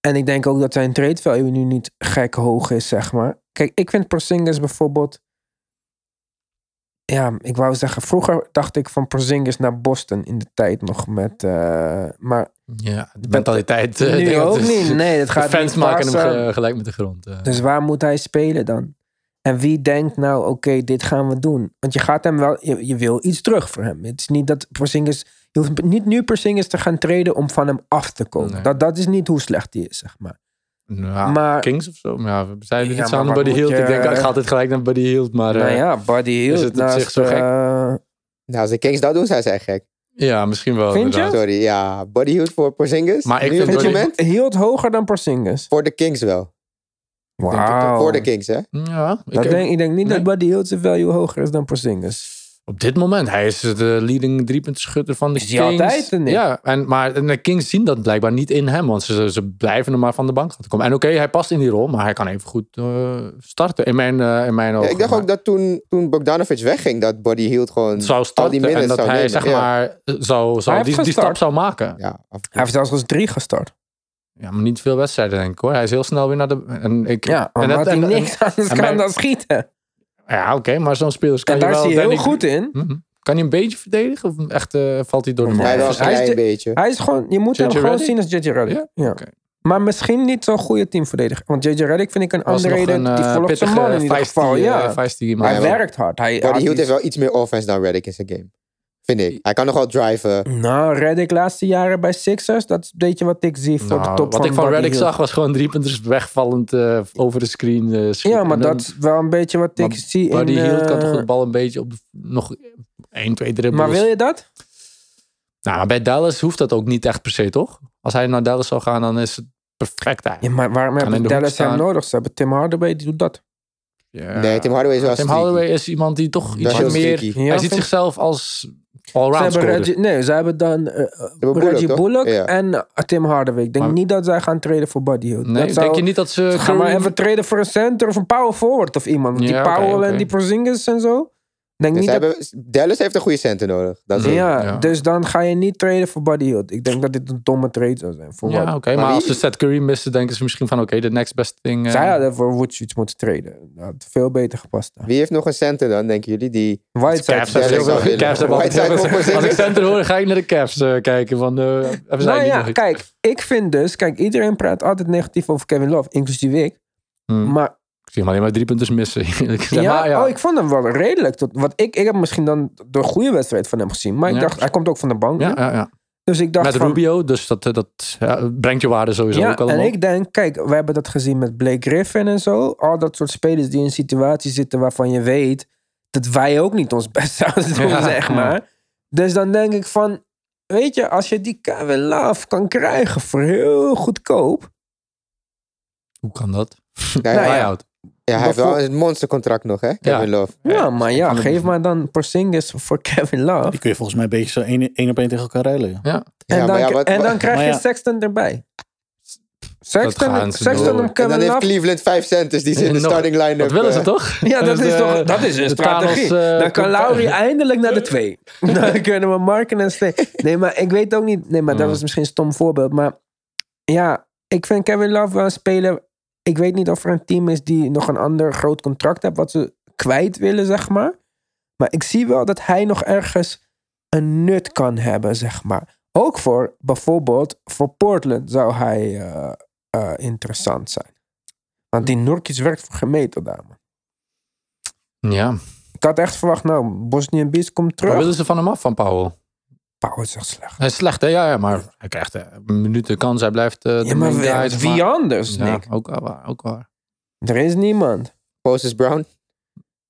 Speaker 1: En ik denk ook dat zijn trade value nu niet gek hoog is, zeg maar. Kijk, ik vind Porzingis bijvoorbeeld. Ja, ik wou zeggen, vroeger dacht ik van Porzingis naar Boston in de tijd nog met. eh, maar
Speaker 3: Ja, de mentaliteit. eh,
Speaker 1: nu
Speaker 3: denk dat
Speaker 1: ook
Speaker 3: het-
Speaker 1: niet. Nee, dat
Speaker 3: De
Speaker 1: gaat
Speaker 3: fans
Speaker 1: niet
Speaker 3: maken hem
Speaker 1: passen.
Speaker 3: ge- gelijk met de grond. eh.
Speaker 1: Dus waar moet hij spelen dan? En wie denkt nou, oké, dit gaan we doen? Want je gaat hem wel, je, je wil iets terug voor hem. Het is niet dat Porzingis, je hoeft niet nu Porzingis te gaan treden om van hem af te komen.
Speaker 3: Nee.
Speaker 1: Dat, dat is niet hoe slecht hij is, zeg maar.
Speaker 3: Nou,
Speaker 1: maar-
Speaker 3: Kings of zo. Maar Ja, we zijn
Speaker 1: Ja,
Speaker 3: niet
Speaker 1: maar
Speaker 3: aan
Speaker 1: wat
Speaker 3: Buddy
Speaker 1: moet
Speaker 3: Hield.
Speaker 1: je-
Speaker 3: Ik denk, ik ga altijd gelijk naar Buddy Hield. Maar eh,
Speaker 1: nou
Speaker 3: ja.
Speaker 1: ja, Buddy Hield
Speaker 3: is het op
Speaker 1: naast,
Speaker 3: zich zo gek?
Speaker 1: eh,
Speaker 4: Nou, als de Kings dat doen, zijn ze echt gek.
Speaker 3: misschien wel.
Speaker 1: Vind je?
Speaker 3: inderdaad.
Speaker 4: Sorry, ja. Bodyhood voor Porzingis.
Speaker 3: Maar ik
Speaker 4: Nu
Speaker 3: vind
Speaker 4: op dit
Speaker 3: Buddy-
Speaker 4: moment?
Speaker 1: Hield hoger dan Porzingis.
Speaker 4: Voor de Kings wel.
Speaker 1: Wauw.
Speaker 4: Voor de Kings, hè?
Speaker 3: Ja, ik,
Speaker 1: Dat denk, ik denk niet
Speaker 3: Nee.
Speaker 1: dat Buddy Hield zijn value hoger is dan Porzingis.
Speaker 3: Op dit moment, hij is de leading driepuntschutter van de
Speaker 1: Is hij
Speaker 3: Kings.
Speaker 1: altijd, of niet?
Speaker 3: Ja, en, maar en de Kings zien dat blijkbaar niet in hem, want ze, ze blijven hem maar van de bank laten komen. En oké, hij past in die rol, maar hij kan even goed eh, starten. In mijn, eh in mijn ogen.
Speaker 4: Ja, ik dacht
Speaker 3: Maar-
Speaker 4: ook dat toen, toen Bogdanovic wegging, dat Body hield gewoon
Speaker 3: zou
Speaker 4: al die
Speaker 3: starten
Speaker 4: minutes
Speaker 3: en dat
Speaker 4: zou
Speaker 3: hij
Speaker 4: nemen.
Speaker 3: zeg
Speaker 4: Ja.
Speaker 3: maar eh, zou, zou
Speaker 1: heeft
Speaker 3: die, die
Speaker 1: gestart.
Speaker 3: stap zou maken.
Speaker 4: Ja, af-
Speaker 1: Hij heeft zelfs als drie gestart.
Speaker 3: Ja, maar niet veel wedstrijden denk ik hoor. Hij is heel snel weer naar de... En ik,
Speaker 1: Ja,
Speaker 3: en
Speaker 1: maar
Speaker 3: dat-
Speaker 1: had hij
Speaker 3: en- en-
Speaker 1: niks anders
Speaker 3: en
Speaker 1: kan
Speaker 3: bij-
Speaker 1: dan schieten.
Speaker 3: ja, oké, maar zo'n speler kan
Speaker 1: En
Speaker 3: je
Speaker 1: daar is
Speaker 3: wel...
Speaker 1: hij heel
Speaker 3: denk ik-
Speaker 1: goed in.
Speaker 3: Mhm. Kan hij een beetje verdedigen of echt eh, valt hij door de
Speaker 1: Ja,
Speaker 4: hij
Speaker 3: man?
Speaker 1: hij
Speaker 4: wel een
Speaker 1: is
Speaker 4: klein
Speaker 1: de-
Speaker 4: beetje.
Speaker 1: Hij is gewoon, je moet
Speaker 3: JJ
Speaker 1: hem gewoon
Speaker 3: Redick?
Speaker 1: zien als JJ Redick.
Speaker 3: Ja?
Speaker 1: Ja.
Speaker 3: Oké.
Speaker 1: Maar misschien niet zo'n goede teamverdediger. Want JJ Redick vind ik een
Speaker 3: Was nog
Speaker 1: andere reden.
Speaker 3: een,
Speaker 1: Die volgt
Speaker 3: eh,
Speaker 1: zijn
Speaker 3: pittige
Speaker 1: man in ieder
Speaker 3: feisty,
Speaker 1: geval.
Speaker 3: eh,
Speaker 1: Ja.
Speaker 3: feisty man.
Speaker 1: Hij
Speaker 4: Ja,
Speaker 1: werkt hard. Hij had
Speaker 4: Body hield
Speaker 1: iets-
Speaker 4: heeft wel iets meer offense dan Reddick in zijn game. Vind ik. Hij kan nog wel driven.
Speaker 1: Nou, Reddick laatste jaren bij Sixers, dat is een beetje wat ik zie voor
Speaker 3: Nou,
Speaker 1: de top
Speaker 3: wat
Speaker 1: van
Speaker 3: ik van
Speaker 1: Buddy
Speaker 3: Reddick
Speaker 1: Hield.
Speaker 3: zag was gewoon drie punters wegvallend eh, over de screen. eh, schieten.
Speaker 1: Ja, maar
Speaker 3: En dan-
Speaker 1: dat is wel een beetje wat ik
Speaker 3: Maar
Speaker 1: zie in...
Speaker 3: Buddy Hield kan toch
Speaker 1: eh,
Speaker 3: de bal een beetje op de, nog 1, 2 dribbles.
Speaker 1: Maar wil je dat?
Speaker 3: Nou, maar bij Dallas hoeft dat ook niet echt per se, toch? Als hij naar Dallas zou gaan, dan is het perfect
Speaker 1: Ja,
Speaker 3: eigenlijk.
Speaker 1: maar waarom
Speaker 3: in
Speaker 1: hebben
Speaker 3: de
Speaker 1: Dallas
Speaker 3: hoek staan.
Speaker 1: hem nodig? Ze hebben Tim Hardaway, die doet dat.
Speaker 3: Ja.
Speaker 4: Nee, Tim Hardaway is wel
Speaker 3: Tim
Speaker 4: streaky.
Speaker 3: Hardaway is iemand die toch
Speaker 4: Dat
Speaker 3: iets
Speaker 4: is heel
Speaker 3: meer...
Speaker 4: streaky.
Speaker 1: Ja,
Speaker 3: hij ziet
Speaker 1: vind-
Speaker 3: zichzelf als
Speaker 1: Ze
Speaker 3: allround
Speaker 1: hebben
Speaker 3: scorer.
Speaker 1: Reggie, nee, ze hebben dan eh,
Speaker 4: Bullock,
Speaker 1: Reggie
Speaker 4: toch?
Speaker 1: Bullock
Speaker 4: Ja.
Speaker 1: en eh, Tim Hardaway. Ik denk
Speaker 3: Maar-
Speaker 1: niet dat zij gaan traden voor Buddy Hield.
Speaker 3: Nee,
Speaker 1: dat
Speaker 3: denk je
Speaker 1: zou,
Speaker 3: niet dat ze...
Speaker 1: Ga
Speaker 3: Curry-
Speaker 1: maar even traden voor een center of een power forward of iemand. Die
Speaker 3: Ehm, Ja, oké,
Speaker 1: Powell
Speaker 3: oké.
Speaker 1: en die Porzingis en zo. Denk
Speaker 4: Dus
Speaker 1: niet
Speaker 4: ze
Speaker 1: dat...
Speaker 4: hebben- Dallas heeft een goede center nodig. Dat is het.
Speaker 1: Ja,
Speaker 3: Ja.
Speaker 1: dus dan ga je niet traden voor Buddy Hield. Ik denk dat dit een domme trade zou zijn. Voor
Speaker 3: Ja,
Speaker 1: wat?
Speaker 3: oké.
Speaker 4: Maar
Speaker 3: maar
Speaker 4: wie-
Speaker 3: als ze Seth Curry missen, denken ze misschien van... Oké, de next best thing... eh,
Speaker 1: Zij hadden voor Woods moeten traden. Dat had veel beter gepast. daar.
Speaker 4: Wie heeft nog een center dan, denken jullie? Die...
Speaker 1: Whiteside. Dus-
Speaker 3: Cavs hebben
Speaker 4: Dallas
Speaker 3: heel
Speaker 4: zou
Speaker 3: veel-
Speaker 4: willen.
Speaker 3: Cavs hebben
Speaker 4: White
Speaker 3: altijd heel
Speaker 4: Sox
Speaker 3: veel-
Speaker 4: voor Porzingis.
Speaker 3: Als ik center hoor, ga ik naar de Cavs eh, kijken. Van, eh, hebben zij
Speaker 1: Nou
Speaker 3: die
Speaker 1: ja,
Speaker 3: nog iets?
Speaker 1: kijk, ik vind dus... Kijk, iedereen praat altijd negatief over Kevin Love, inclusief ik.
Speaker 3: Hmm.
Speaker 1: Maar
Speaker 3: Ik zie hem alleen maar drie punten missen. [laughs] eerlijk gezegd.
Speaker 1: ja,
Speaker 3: Maar ja.
Speaker 1: Oh, ik vond hem wel redelijk. Tot, wat ik, ik heb misschien dan de goede wedstrijd van hem gezien. Maar ik
Speaker 3: Ja.
Speaker 1: dacht, hij komt ook van de bank.
Speaker 3: Ja,
Speaker 1: hè?
Speaker 3: ja, ja.
Speaker 1: Dus ik dacht
Speaker 3: Met
Speaker 1: van,
Speaker 3: Rubio, dus dat, eh, dat ja, brengt je waarde sowieso
Speaker 1: ja,
Speaker 3: ook allemaal.
Speaker 1: En ik denk, kijk, we hebben dat gezien met Blake Griffin en zo. Al dat soort spelers die in situaties zitten waarvan je weet dat wij ook niet ons [laughs] best zouden doen,
Speaker 3: Ja,
Speaker 1: zeg
Speaker 3: ja.
Speaker 1: maar. Dus dan denk ik van, weet je, als je die Kevin Love kan krijgen voor heel goedkoop.
Speaker 3: Hoe kan dat?
Speaker 4: Nou ja,
Speaker 1: Nou ja.
Speaker 3: Buyout.
Speaker 4: ja, hij heeft wel
Speaker 1: Bijvoor-
Speaker 4: een monstercontract nog, hè? Kevin Love.
Speaker 1: Ja, maar ja,
Speaker 3: kan ik
Speaker 1: geef
Speaker 3: niet.
Speaker 1: maar dan Porzingis voor Kevin Love.
Speaker 5: Die kun je volgens mij een beetje zo één één op één tegen elkaar ruilen. ja.
Speaker 4: Ja,
Speaker 1: en,
Speaker 4: maar
Speaker 1: dan,
Speaker 4: ja, wat-
Speaker 1: en dan
Speaker 4: wat-
Speaker 1: krijg
Speaker 5: Maar
Speaker 1: je
Speaker 5: ja.
Speaker 1: Sexton erbij.
Speaker 3: gaan
Speaker 1: Sexton,
Speaker 3: ze
Speaker 1: Sexton
Speaker 3: door.
Speaker 1: om
Speaker 4: En dan
Speaker 1: Kevin
Speaker 4: heeft
Speaker 1: Love.
Speaker 4: Cleveland vijf centers die ze in de
Speaker 3: Nog-
Speaker 4: starting eh, line
Speaker 3: Dat willen ze toch?
Speaker 1: [laughs] Ja, dat
Speaker 3: Dus,
Speaker 1: is
Speaker 3: eh,
Speaker 1: toch dat is een
Speaker 3: de
Speaker 1: strategie.
Speaker 3: Thanos, eh,
Speaker 1: dan kan
Speaker 3: compa-
Speaker 1: Lauri eindelijk naar de twee. Dan kunnen we Marken en Steen. Nee, maar ik weet ook niet. Nee, maar dat
Speaker 3: Mm.
Speaker 1: was misschien een stom voorbeeld. Maar ja, ik vind Kevin Love wel een speler. Ik weet niet of er een team is die nog een ander groot contract heeft. wat ze kwijt willen, zeg maar. Maar ik zie wel dat hij nog ergens een nut kan hebben, zeg maar. Ook voor bijvoorbeeld voor Portland zou hij eh, eh, interessant zijn. Want die Nurkic werkt voor gemeten daar, man.
Speaker 3: Ja.
Speaker 1: Ik had echt verwacht, nou, Bosnië en Bies komt
Speaker 3: Wat
Speaker 1: terug.
Speaker 3: willen ze van hem af, van Powell?
Speaker 1: Pauw is echt slecht.
Speaker 3: Hij is slecht, hè? Ja, ja, maar hij krijgt eh, een minuut de kans. Hij blijft eh, de
Speaker 1: Ja, maar
Speaker 3: main guy,
Speaker 1: wie,
Speaker 3: zeg
Speaker 1: wie
Speaker 3: maar.
Speaker 1: anders,
Speaker 3: Ja,
Speaker 1: Nick?
Speaker 3: ook wel waar, ook waar.
Speaker 1: Er is niemand.
Speaker 4: Moses Brown? [laughs]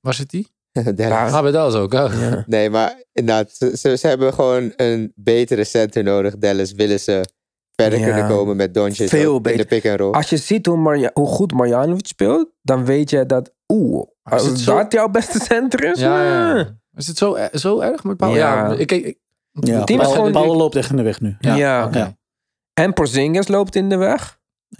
Speaker 3: Waar zit hij?
Speaker 4: Dallas.
Speaker 3: Ah, bij Dallas ook. hè?
Speaker 1: Ja.
Speaker 4: Nee, maar inderdaad, ze, ze- ze hebben gewoon een betere center nodig. Dallas willen ze verder
Speaker 1: Ja.
Speaker 4: kunnen komen met Doncic
Speaker 1: Veel
Speaker 4: ook in
Speaker 1: beter.
Speaker 4: de pick-and-roll.
Speaker 1: Als je ziet hoe, Marja- hoe goed Marjanovic speelt, dan weet je dat, oeh,
Speaker 3: Is het
Speaker 1: als
Speaker 3: zo?
Speaker 1: dat jouw beste center is?
Speaker 3: Ja, ja,
Speaker 1: eh.
Speaker 3: ja. Is het zo, eh, zo erg met Powell? Ja.
Speaker 1: Ja.
Speaker 3: ik, ik, ik-
Speaker 5: Ja,
Speaker 1: team is
Speaker 5: Paul,
Speaker 1: gewoon-
Speaker 5: Paul loopt echt in de weg nu.
Speaker 3: Ja.
Speaker 1: Ja.
Speaker 3: oké.
Speaker 5: Ja.
Speaker 1: En Porzingis loopt in de weg.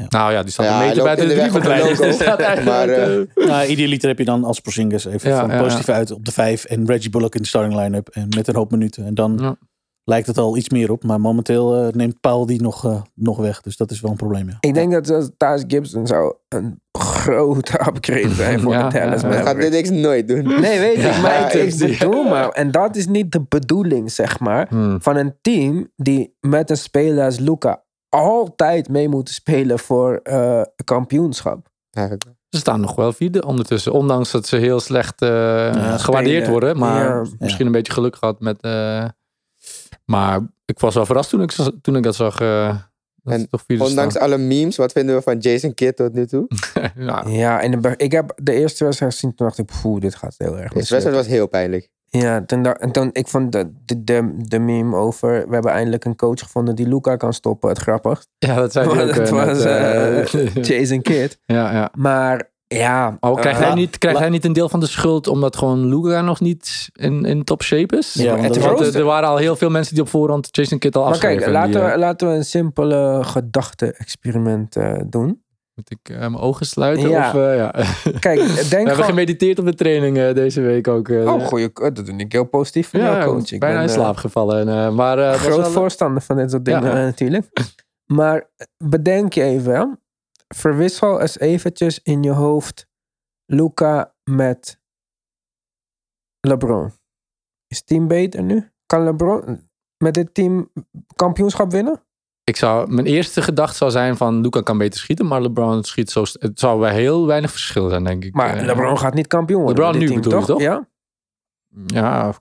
Speaker 3: Nou ja, die staat
Speaker 4: Ja,
Speaker 3: een
Speaker 4: hij
Speaker 3: meter
Speaker 4: loopt
Speaker 3: buiten
Speaker 4: in
Speaker 3: de
Speaker 4: de weg van
Speaker 3: driepuntlijn. [laughs]
Speaker 4: Loco.
Speaker 3: Dus dat eigenlijk,
Speaker 4: Maar, eh,
Speaker 3: eh,
Speaker 5: Nou, idealiter heb je dan als Porzingis even
Speaker 3: Ja,
Speaker 5: van
Speaker 3: ja, ja.
Speaker 5: positief uit op de vijf. En Reggie Bullock in de starting line-up. En met een hoop minuten. En dan
Speaker 3: Ja.
Speaker 5: lijkt het al iets meer op. Maar momenteel eh, neemt Paul die nog, eh, nog weg. Dus dat is wel een probleem, ja.
Speaker 1: Ik denk dat eh, Thais Gibson zou een grote upgrade zijn voor
Speaker 3: [laughs] Ja,
Speaker 1: de Dallas
Speaker 3: ja, ja.
Speaker 4: dat gaat
Speaker 1: Mavericks.
Speaker 4: dit niks nooit doen. [laughs]
Speaker 1: Nee, weet ik, maar
Speaker 4: Ja,
Speaker 1: ik,
Speaker 4: ik
Speaker 1: ik bedoel maar. En dat is niet de bedoeling, zeg maar.
Speaker 3: hmm.
Speaker 1: van een team die met een speler als Luca altijd mee moet spelen voor eh, kampioenschap.
Speaker 4: Eigenlijk.
Speaker 3: Ze staan nog wel vierde ondertussen. Ondanks dat ze heel slecht eh, gewaardeerd
Speaker 1: spelen.
Speaker 3: worden. Maar
Speaker 1: Ja.
Speaker 3: misschien een beetje geluk gehad met... eh, maar ik was wel verrast toen ik, toen ik dat zag. eh dat
Speaker 4: En
Speaker 3: ze toch vierde
Speaker 4: Ondanks alle memes, wat vinden we van Jason Kidd tot nu
Speaker 1: Hm,
Speaker 4: toe?
Speaker 3: staan. [laughs] ja,
Speaker 1: Ja, en de be- ik heb de eerste wedstrijd gezien, toen dacht ik, poeh, dit gaat heel erg
Speaker 4: De wedstrijd
Speaker 1: mislukken.
Speaker 4: was heel pijnlijk.
Speaker 1: Ja, toen, da- en toen, ik vond de, de, de, de meme over, we hebben eindelijk een coach gevonden die Luca kan stoppen, het grappigst. [laughs] eh,
Speaker 3: ja, dat zei hij
Speaker 1: Maar
Speaker 3: ook.
Speaker 1: dat [laughs]
Speaker 3: [laughs] eh, net,
Speaker 1: was,
Speaker 3: eh,
Speaker 1: Jason Kidd.
Speaker 3: ja, ja.
Speaker 1: Maar Ja.
Speaker 3: Oh, krijgt,
Speaker 1: eh,
Speaker 3: hij, niet, krijgt
Speaker 5: la-
Speaker 3: hij niet een deel van de schuld omdat gewoon Luca nog niet in, in top shape is?
Speaker 5: Ja, want
Speaker 1: het
Speaker 5: dat-
Speaker 1: is
Speaker 3: Want
Speaker 1: rooster.
Speaker 3: eh, er waren al heel veel mensen die op voorhand Jason Kidd al
Speaker 1: Maar
Speaker 3: afschreven.
Speaker 1: kijk,
Speaker 3: die,
Speaker 1: laten,
Speaker 3: eh,
Speaker 1: we, laten we een simpele gedachte-experiment eh, doen.
Speaker 3: moet ik eh, mijn ogen sluiten?
Speaker 1: Ja.
Speaker 3: Of, eh, ja.
Speaker 1: [laughs]
Speaker 3: [laughs]
Speaker 1: Kijk,
Speaker 3: we
Speaker 1: denk
Speaker 3: hebben
Speaker 1: gewoon...
Speaker 3: gemediteerd op de training eh, deze week ook. eh.
Speaker 1: Oh, goeie, eh, dat vind ik heel positief van jou,
Speaker 3: ja,
Speaker 1: coach. Ik
Speaker 3: bijna
Speaker 1: ben,
Speaker 3: in
Speaker 1: eh,
Speaker 3: slaap gevallen. En, eh, maar, eh, was
Speaker 1: groot
Speaker 3: wel-
Speaker 1: voorstander van dit soort
Speaker 3: Ja.
Speaker 1: dingen eh, natuurlijk. Maar eh, bedenk je even, hè. verwissel eens eventjes in je hoofd Luca met LeBron. Is het team beter nu? Kan LeBron eh, met dit team kampioenschap winnen?
Speaker 3: Ik zou, mijn eerste gedachte zou zijn van Luca kan beter schieten, maar LeBron schiet zo. st- Het zou wel heel weinig verschil zijn, denk ik.
Speaker 1: Maar
Speaker 3: Eh,
Speaker 1: LeBron gaat niet kampioen worden.
Speaker 3: LeBron
Speaker 1: met dit
Speaker 3: nu
Speaker 1: team,
Speaker 3: bedoel je, toch?
Speaker 1: Ja.
Speaker 3: Ja,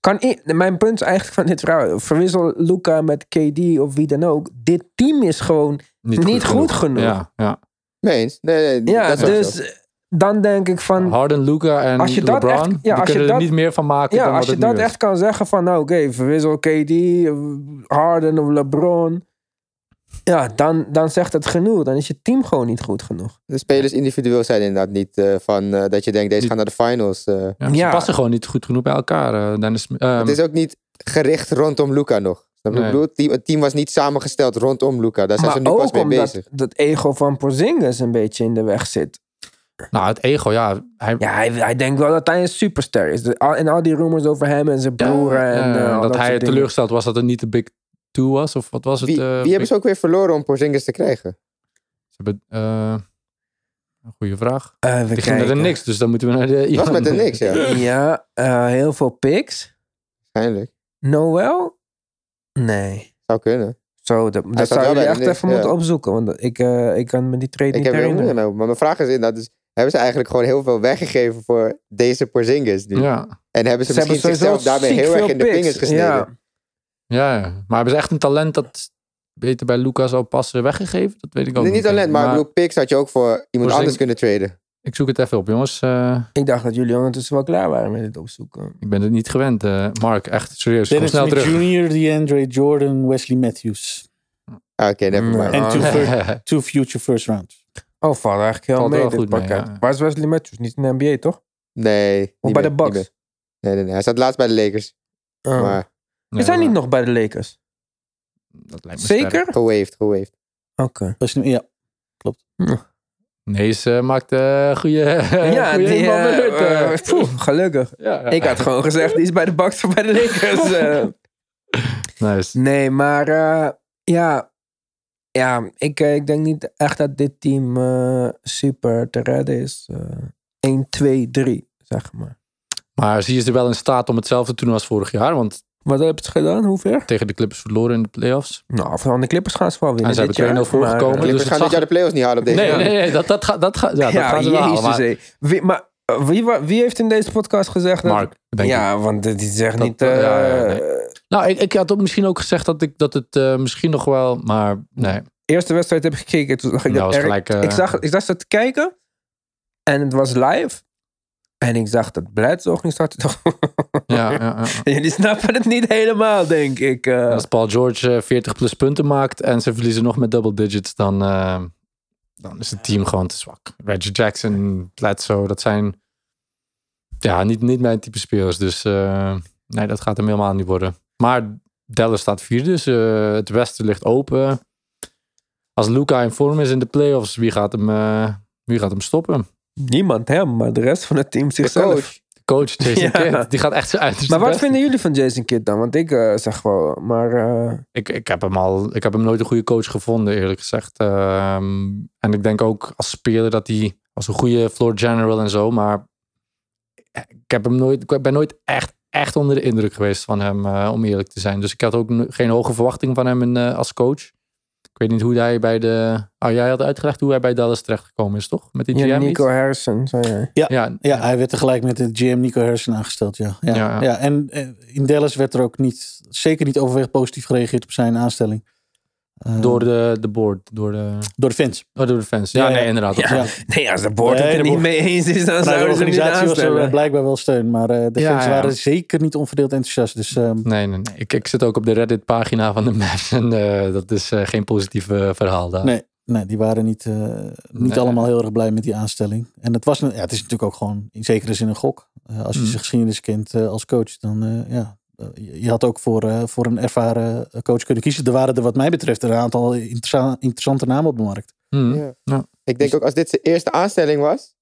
Speaker 1: Kan i- mijn punt eigenlijk van dit verhaal, verwissel Luca met KD of wie dan ook. Dit team is gewoon
Speaker 3: niet,
Speaker 1: Niet goed genoeg.
Speaker 3: Ja, ja.
Speaker 4: Mee eens. Nee, nee,
Speaker 1: Ja,
Speaker 4: dat is ook
Speaker 1: dus
Speaker 4: zo.
Speaker 1: dan denk ik van.
Speaker 3: Harden, Luca en
Speaker 1: Als je dat
Speaker 3: LeBron,
Speaker 1: echt- ja,
Speaker 3: die
Speaker 1: als je
Speaker 3: kunnen er
Speaker 1: dat-
Speaker 3: niet meer van maken dan
Speaker 1: Ja,
Speaker 3: wat
Speaker 1: als je
Speaker 3: het nu
Speaker 1: dat
Speaker 3: is.
Speaker 1: echt kan zeggen van, nou oké, verwissel KD, Harden of LeBron. Ja, dan, dan zegt het genoeg. Dan is je team gewoon niet goed genoeg.
Speaker 4: De spelers individueel zijn inderdaad niet eh, van eh, dat je denkt, deze
Speaker 3: Niet-
Speaker 4: gaan naar de finals. eh.
Speaker 3: Ja, ze
Speaker 1: Ja.
Speaker 3: passen gewoon niet goed genoeg bij elkaar. eh, Dennis, ehm,
Speaker 4: het is ook niet gericht rondom Luca nog. Snap je wat
Speaker 3: Nee.
Speaker 4: ik bedoel? Het team, het team was niet samengesteld rondom Luca. Daar zijn ze
Speaker 1: maar
Speaker 4: nu pas
Speaker 1: ook
Speaker 4: mee
Speaker 1: omdat
Speaker 4: bezig.
Speaker 1: dat ego van Porzingis een beetje in de weg zit.
Speaker 3: Nou, het ego, ja. Hij,
Speaker 1: Ja, hij, hij denkt wel dat hij een superster is. De- al- En al die rumors over hem en zijn
Speaker 3: ja,
Speaker 1: broer en
Speaker 3: eh,
Speaker 1: eh, al
Speaker 3: dat, hij
Speaker 1: soort dingen.
Speaker 3: teleurgesteld was dat het niet de Big Two was. Of wat was het?
Speaker 4: Wie,
Speaker 3: eh,
Speaker 4: wie hebben
Speaker 3: Big-
Speaker 4: ze ook weer verloren om Porzingis te krijgen?
Speaker 3: ze hebben, eh, een goede vraag.
Speaker 1: Eh, we
Speaker 3: Die ging naar de
Speaker 1: kijken.
Speaker 3: niks, dus dan moeten we naar de...
Speaker 4: Het was met de
Speaker 1: [laughs]
Speaker 4: niks, ja.
Speaker 1: Ja, eh, heel veel picks.
Speaker 4: Waarschijnlijk.
Speaker 1: Noel? Nee.
Speaker 4: Zou kunnen.
Speaker 1: Zo, dat, dat
Speaker 4: staat
Speaker 1: zou
Speaker 4: wel bij
Speaker 1: je
Speaker 4: de
Speaker 1: echt
Speaker 4: Knicks,
Speaker 1: even
Speaker 4: ja.
Speaker 1: moeten opzoeken. Want ik, eh, ik kan me die trade
Speaker 4: Ik
Speaker 1: niet
Speaker 4: heb er heel
Speaker 1: herinneren.
Speaker 4: moeite mee. Maar mijn vraag is inderdaad, dus, hebben ze eigenlijk gewoon heel veel weggegeven voor deze Porzingis nu?
Speaker 3: [laughs] Ja,
Speaker 4: En hebben ze,
Speaker 1: hebben sowieso
Speaker 4: misschien zichzelf daarmee
Speaker 1: ziek
Speaker 4: heel erg
Speaker 1: veel
Speaker 4: in de
Speaker 1: picks.
Speaker 4: vingers gesneden?
Speaker 1: Ja.
Speaker 3: ja, ja. Maar hebben ze echt een talent dat beter bij Lucas zou passen weggegeven? Dat weet ik ook
Speaker 4: Nee,
Speaker 3: niet.
Speaker 4: niet alleen, maar, ik bedoel, picks had je ook voor iemand
Speaker 3: Porzing-
Speaker 4: anders kunnen traden.
Speaker 3: ik zoek het even op, jongens. Eh,
Speaker 1: Ik dacht dat jullie ondertussen wel klaar waren met dit opzoeken.
Speaker 3: ik ben het niet gewend, eh, Mark. Echt, serieus. Kom
Speaker 5: Dennis
Speaker 3: snel
Speaker 5: Smith
Speaker 3: terug.
Speaker 5: Jr., DeAndre Jordan, Wesley Matthews.
Speaker 4: Ah, Oké, never
Speaker 1: Mm.
Speaker 4: mind.
Speaker 5: En
Speaker 1: Ah,
Speaker 5: two,
Speaker 1: nee.
Speaker 3: [laughs]
Speaker 5: fir- two future first rounds.
Speaker 1: Oh, valt eigenlijk heel
Speaker 3: Valt
Speaker 1: mee
Speaker 3: wel
Speaker 1: dit
Speaker 3: goed mee,
Speaker 1: pakket.
Speaker 3: ja.
Speaker 1: Waar is Wesley Matthews? Niet in de NBA, toch?
Speaker 4: Nee. niet
Speaker 1: Of bij
Speaker 4: meer,
Speaker 1: de
Speaker 4: niet
Speaker 1: Bucks?
Speaker 4: meer. Nee, nee, nee. Hij zat laatst bij de Lakers.
Speaker 1: Oh.
Speaker 4: Maar
Speaker 3: Nee,
Speaker 1: Is hij niet
Speaker 3: maar-
Speaker 1: nog bij de Lakers?
Speaker 3: dat lijkt me sterk.
Speaker 1: Zeker?
Speaker 4: gewaved, gewaved.
Speaker 3: Oh,
Speaker 1: Oké.
Speaker 5: Wesley- ja.
Speaker 3: Nee, ze maakt eh goede. [laughs]
Speaker 1: Ja,
Speaker 3: goede
Speaker 1: die,
Speaker 3: inval
Speaker 1: eh,
Speaker 3: met Rutte.
Speaker 1: eh, poeh, gelukkig.
Speaker 3: ja, ja.
Speaker 1: Ik had gewoon gezegd, die is bij de Bucks of bij de
Speaker 3: [laughs]
Speaker 1: Lakers. eh.
Speaker 3: Nice.
Speaker 1: Nee, maar eh, ja. Ja, ik, eh, ik denk niet echt dat dit team eh, super te redden is. Eh 1, 2, 3, zeg maar.
Speaker 3: Maar zie je ze wel in staat om hetzelfde te doen als vorig jaar? Want
Speaker 1: Wat hebben ze gedaan? Hoe ver?
Speaker 3: tegen de Clippers verloren in de playoffs.
Speaker 1: Nou, van de Clippers gaan ze wel winnen.
Speaker 3: En ze
Speaker 1: dit
Speaker 3: hebben 2-0
Speaker 1: jaar, maar, eh,
Speaker 3: voorgekomen. Dus
Speaker 4: Clippers
Speaker 3: het
Speaker 4: gaan
Speaker 3: zag-
Speaker 4: dit jaar de playoffs niet halen op deze
Speaker 3: Nee,
Speaker 4: manier.
Speaker 3: nee, nee, dat, dat, gaat- dat, gaat- ja, dat
Speaker 1: Ja,
Speaker 3: gaan ze wel halen.
Speaker 1: jezus,
Speaker 3: Maar
Speaker 1: hé. Wie, maar eh, wie, wa- wie heeft in deze podcast gezegd dat...
Speaker 3: Mark, denk ik.
Speaker 1: eh, ja, want dit is echt
Speaker 3: Dat-
Speaker 1: niet...
Speaker 3: ja,
Speaker 1: eh,
Speaker 3: ja, nee. Nou, ik, ik had ook misschien ook gezegd dat, ik, dat het eh, misschien nog wel... Maar nee,
Speaker 1: Eerste wedstrijd heb ik gekeken. Toen zag ik
Speaker 3: dat
Speaker 1: dat
Speaker 3: was
Speaker 1: Eric-
Speaker 3: gelijk... eh,
Speaker 1: ik, zag, ik zag ze te kijken. En het was live. En ik zag dat Bledsoe ging starten. Toch?
Speaker 3: ja, ja, ja.
Speaker 1: [laughs] Jullie snappen het niet helemaal, denk ik. eh.
Speaker 3: Als Paul George eh, 40 plus punten maakt en ze verliezen nog met double digits, dan, eh, dan is het team gewoon te zwak. Reggie Jackson, Bledsoe, dat zijn ja, niet, niet mijn type spelers. Dus eh, nee, dat gaat hem helemaal niet worden. Maar Dallas staat vierde, dus eh, het westen ligt open. Als Luca in vorm is in de playoffs, wie gaat hem, eh, wie gaat hem stoppen?
Speaker 1: Niemand hem, maar de rest van het team
Speaker 4: De
Speaker 1: zichzelf.
Speaker 4: coach.
Speaker 3: De coach Jason
Speaker 1: [laughs] Ja.
Speaker 3: Kidd, die gaat echt zijn uiterste
Speaker 1: Maar wat
Speaker 3: best
Speaker 1: vinden jullie van Jason Kidd dan? Want ik eh, zeg wel, maar... eh,
Speaker 3: Ik, ik, heb hem al, ik heb hem nooit een goede coach gevonden, eerlijk gezegd. Ehm, en ik denk ook als speler dat hij als een goede floor general en zo, maar ik, heb hem nooit, ik ben nooit echt, echt onder de indruk geweest van hem, eh, om eerlijk te zijn. Dus ik had ook no- geen hoge verwachting van hem in, eh, als coach. Ik weet niet hoe hij bij de. Oh, jij had uitgelegd hoe hij bij Dallas terechtgekomen is, toch? Met die GM?
Speaker 1: ja,
Speaker 3: niet?
Speaker 1: Nico Harrison, zei jij.
Speaker 3: Ja,
Speaker 5: Ja, hij werd tegelijk met de GM Nico Harrison aangesteld. Ja. Ja,
Speaker 3: Ja, ja.
Speaker 5: ja. en eh, in Dallas werd er ook niet, zeker niet overweg positief gereageerd op zijn aanstelling. Eh,
Speaker 3: door de, de board, door de,
Speaker 5: door de fans.
Speaker 3: oh, door de fans. Ja,
Speaker 5: Ja, ja.
Speaker 3: nee, inderdaad.
Speaker 1: Ja.
Speaker 5: Ja.
Speaker 1: Nee, als de board het
Speaker 5: Nee,
Speaker 1: er
Speaker 5: de
Speaker 1: niet
Speaker 5: board-
Speaker 1: mee eens is, dan
Speaker 5: Vanuit de
Speaker 1: zouden ze hem niet
Speaker 5: organisatie was er eh,
Speaker 3: eh,
Speaker 1: aanstellen.
Speaker 5: blijkbaar wel steun, maar eh, de
Speaker 3: Ja,
Speaker 5: fans
Speaker 3: ja.
Speaker 5: waren zeker niet onverdeeld enthousiast. Dus ehm,
Speaker 3: Nee, nee, nee. [laughs] Ik, ik zit ook op de Reddit-pagina van de Mavs en eh, dat is eh, geen positief eh, verhaal daar.
Speaker 5: Nee. nee, die waren niet, eh, niet
Speaker 3: Nee.
Speaker 5: allemaal heel erg blij met die aanstelling. En het, was, een- ja, het is natuurlijk ook gewoon in zekere zin een gok. Eh, als je
Speaker 3: Mm.
Speaker 5: zijn geschiedenis kent eh, als coach, dan eh, ja. eh, je- Je had ook voor, eh, voor een ervaren eh, coach kunnen kiezen. Er waren er wat mij betreft een aantal interessa- interessante namen op de markt.
Speaker 3: Hm.
Speaker 4: Ja. Ik denk ook als dit zijn eerste aanstelling was,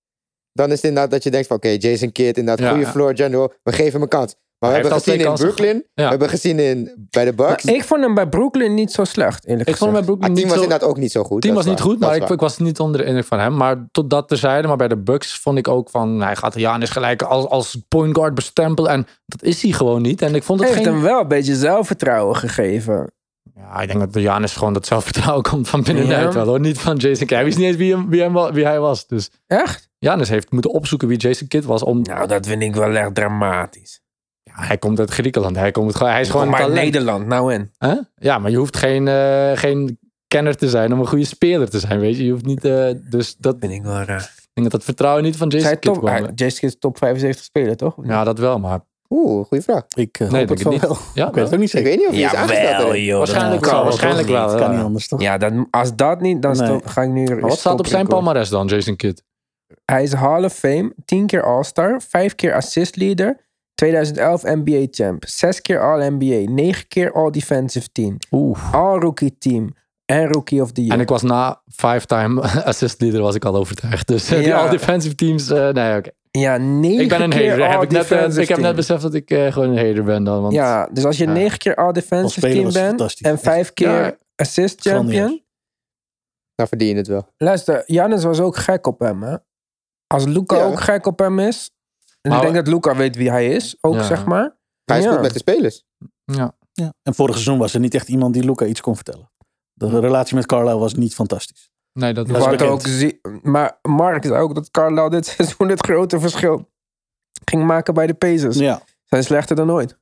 Speaker 4: dan is het inderdaad dat je denkt van oké, Jason Kidd, inderdaad
Speaker 3: Ja,
Speaker 4: goede
Speaker 3: ja.
Speaker 4: floor general, we geven hem een kans. Maar we
Speaker 3: Hij heeft
Speaker 4: hebben
Speaker 3: al twee
Speaker 4: gezien in
Speaker 3: kansen ge-
Speaker 4: Brooklyn, we
Speaker 3: Ja.
Speaker 4: hebben gezien in, bij de Bucks.
Speaker 1: Ik vond hem bij Brooklyn niet zo slecht, eerlijk
Speaker 3: Ik vond hem bij
Speaker 1: gezegd.
Speaker 4: het
Speaker 3: Brooklyn
Speaker 4: Ah, team
Speaker 3: niet
Speaker 4: was
Speaker 3: zo...
Speaker 4: inderdaad ook niet zo goed.
Speaker 3: Het team
Speaker 4: dat
Speaker 3: was
Speaker 4: is
Speaker 3: niet
Speaker 4: waar,
Speaker 3: goed,
Speaker 4: dat
Speaker 3: maar
Speaker 4: is
Speaker 3: ik,
Speaker 4: waar.
Speaker 3: ik was niet onder de indruk van hem. Maar tot dat terzijde, maar bij de Bucks vond ik ook van... nou, Hij gaat Giannis gelijk als, als point guard bestempelen. En dat is hij gewoon niet. En ik vond het
Speaker 1: Heeft
Speaker 3: geen...
Speaker 1: hem wel een beetje zelfvertrouwen gegeven.
Speaker 3: Ja, ik denk dat Giannis gewoon dat zelfvertrouwen [laughs] komt van binnenuit
Speaker 1: Ja.
Speaker 3: wel hoor. Niet van Jason Kidd. Hij wist niet eens wie, hem, wie, hem, wa- wie hij was. Dus
Speaker 1: Echt?
Speaker 3: Giannis heeft moeten opzoeken wie Jason Kidd was. Om...
Speaker 1: Nou, dat vind ik wel echt dramatisch.
Speaker 3: Ja, hij komt uit Griekenland. Hij, komt, gewoon- hij is gewoon
Speaker 1: Kom
Speaker 3: een
Speaker 1: maar
Speaker 3: talent.
Speaker 1: Nederland, nou en.
Speaker 3: Hè? Ja, maar je hoeft geen, eh, geen kenner te zijn om een goede speler te zijn, weet je. Je hoeft niet... eh, dus dat, ik
Speaker 1: Vind ik wel raar.
Speaker 3: denk dat dat vertrouwen niet van Jason
Speaker 1: Zij
Speaker 3: Kidd
Speaker 1: top,
Speaker 3: kwam.
Speaker 1: hij- Jason Kidd is top 75 speler, toch?
Speaker 3: Ja, dat wel, maar...
Speaker 4: Oeh, goede vraag.
Speaker 5: Ik eh,
Speaker 3: Nee, denk
Speaker 5: hoop het
Speaker 3: ik
Speaker 5: van
Speaker 3: niet.
Speaker 5: wel.
Speaker 3: Ja,
Speaker 5: Ik weet het ook niet
Speaker 4: Ik
Speaker 5: zeker.
Speaker 4: weet niet of hij is aangesteld.
Speaker 1: Jawel,
Speaker 4: erin.
Speaker 1: joh.
Speaker 3: Waarschijnlijk
Speaker 1: dat
Speaker 3: wel,
Speaker 1: kan
Speaker 3: waarschijnlijk
Speaker 1: toch
Speaker 3: wel.
Speaker 1: niet?
Speaker 5: Het kan niet anders toch?
Speaker 1: Ja, dan, als dat niet, dan
Speaker 5: Nee.
Speaker 1: sto- ga ik nu...
Speaker 3: Maar wat staat op zijn
Speaker 1: palma?
Speaker 3: palmarès dan, Jason Kidd?
Speaker 1: Hij is Hall of Fame, 10 keer All-Star, 5 keer Assist Leader, 2011 NBA Champ, 6 keer All-NBA, 9 keer All-Defensive Team,
Speaker 3: Oeh.
Speaker 1: All-Rookie Team en Rookie of the Year.
Speaker 3: En ik was na five-time [laughs] assist leader was ik al overtuigd. Dus eh, die
Speaker 1: Ja.
Speaker 3: all-defensive teams, eh, nee, oké.
Speaker 1: ja, 9
Speaker 3: Ik ben een
Speaker 1: keer
Speaker 3: hater. Heb ik, net, eh,
Speaker 1: All-Defensive
Speaker 3: ik heb net
Speaker 1: Team.
Speaker 3: beseft dat ik eh, gewoon een hater ben dan. Want,
Speaker 1: Ja, dus als je
Speaker 3: Ja.
Speaker 1: 9 keer
Speaker 5: Als
Speaker 1: All-Defensive
Speaker 5: speler
Speaker 1: Team
Speaker 5: was het
Speaker 1: bent
Speaker 5: fantastisch.
Speaker 1: en
Speaker 5: Echt.
Speaker 1: 5 keer
Speaker 3: Ja.
Speaker 1: Assist
Speaker 5: Grandioos.
Speaker 1: Champion.
Speaker 4: Dan verdien je het wel.
Speaker 1: Luister, Jannis was ook gek op hem, hè? Als Luca
Speaker 4: Ja.
Speaker 1: ook gek op hem is. En
Speaker 3: Maar-
Speaker 1: ik denk dat Luca weet wie hij is, ook
Speaker 3: Ja.
Speaker 1: zeg maar.
Speaker 4: Hij is
Speaker 1: Ja.
Speaker 4: goed met de spelers.
Speaker 5: Ja. En vorig seizoen was er niet echt iemand die Luca iets kon vertellen. De relatie met Carlisle was niet fantastisch.
Speaker 3: Nee, dat
Speaker 5: Dat is
Speaker 3: was
Speaker 1: Wat
Speaker 5: bekend.
Speaker 1: ook zie- maar Mark zei ook dat Carlisle dit [laughs] seizoen het grote verschil ging maken bij de
Speaker 3: Dus
Speaker 1: Pacers.
Speaker 5: Ja,
Speaker 1: Zijn slechter dan ooit.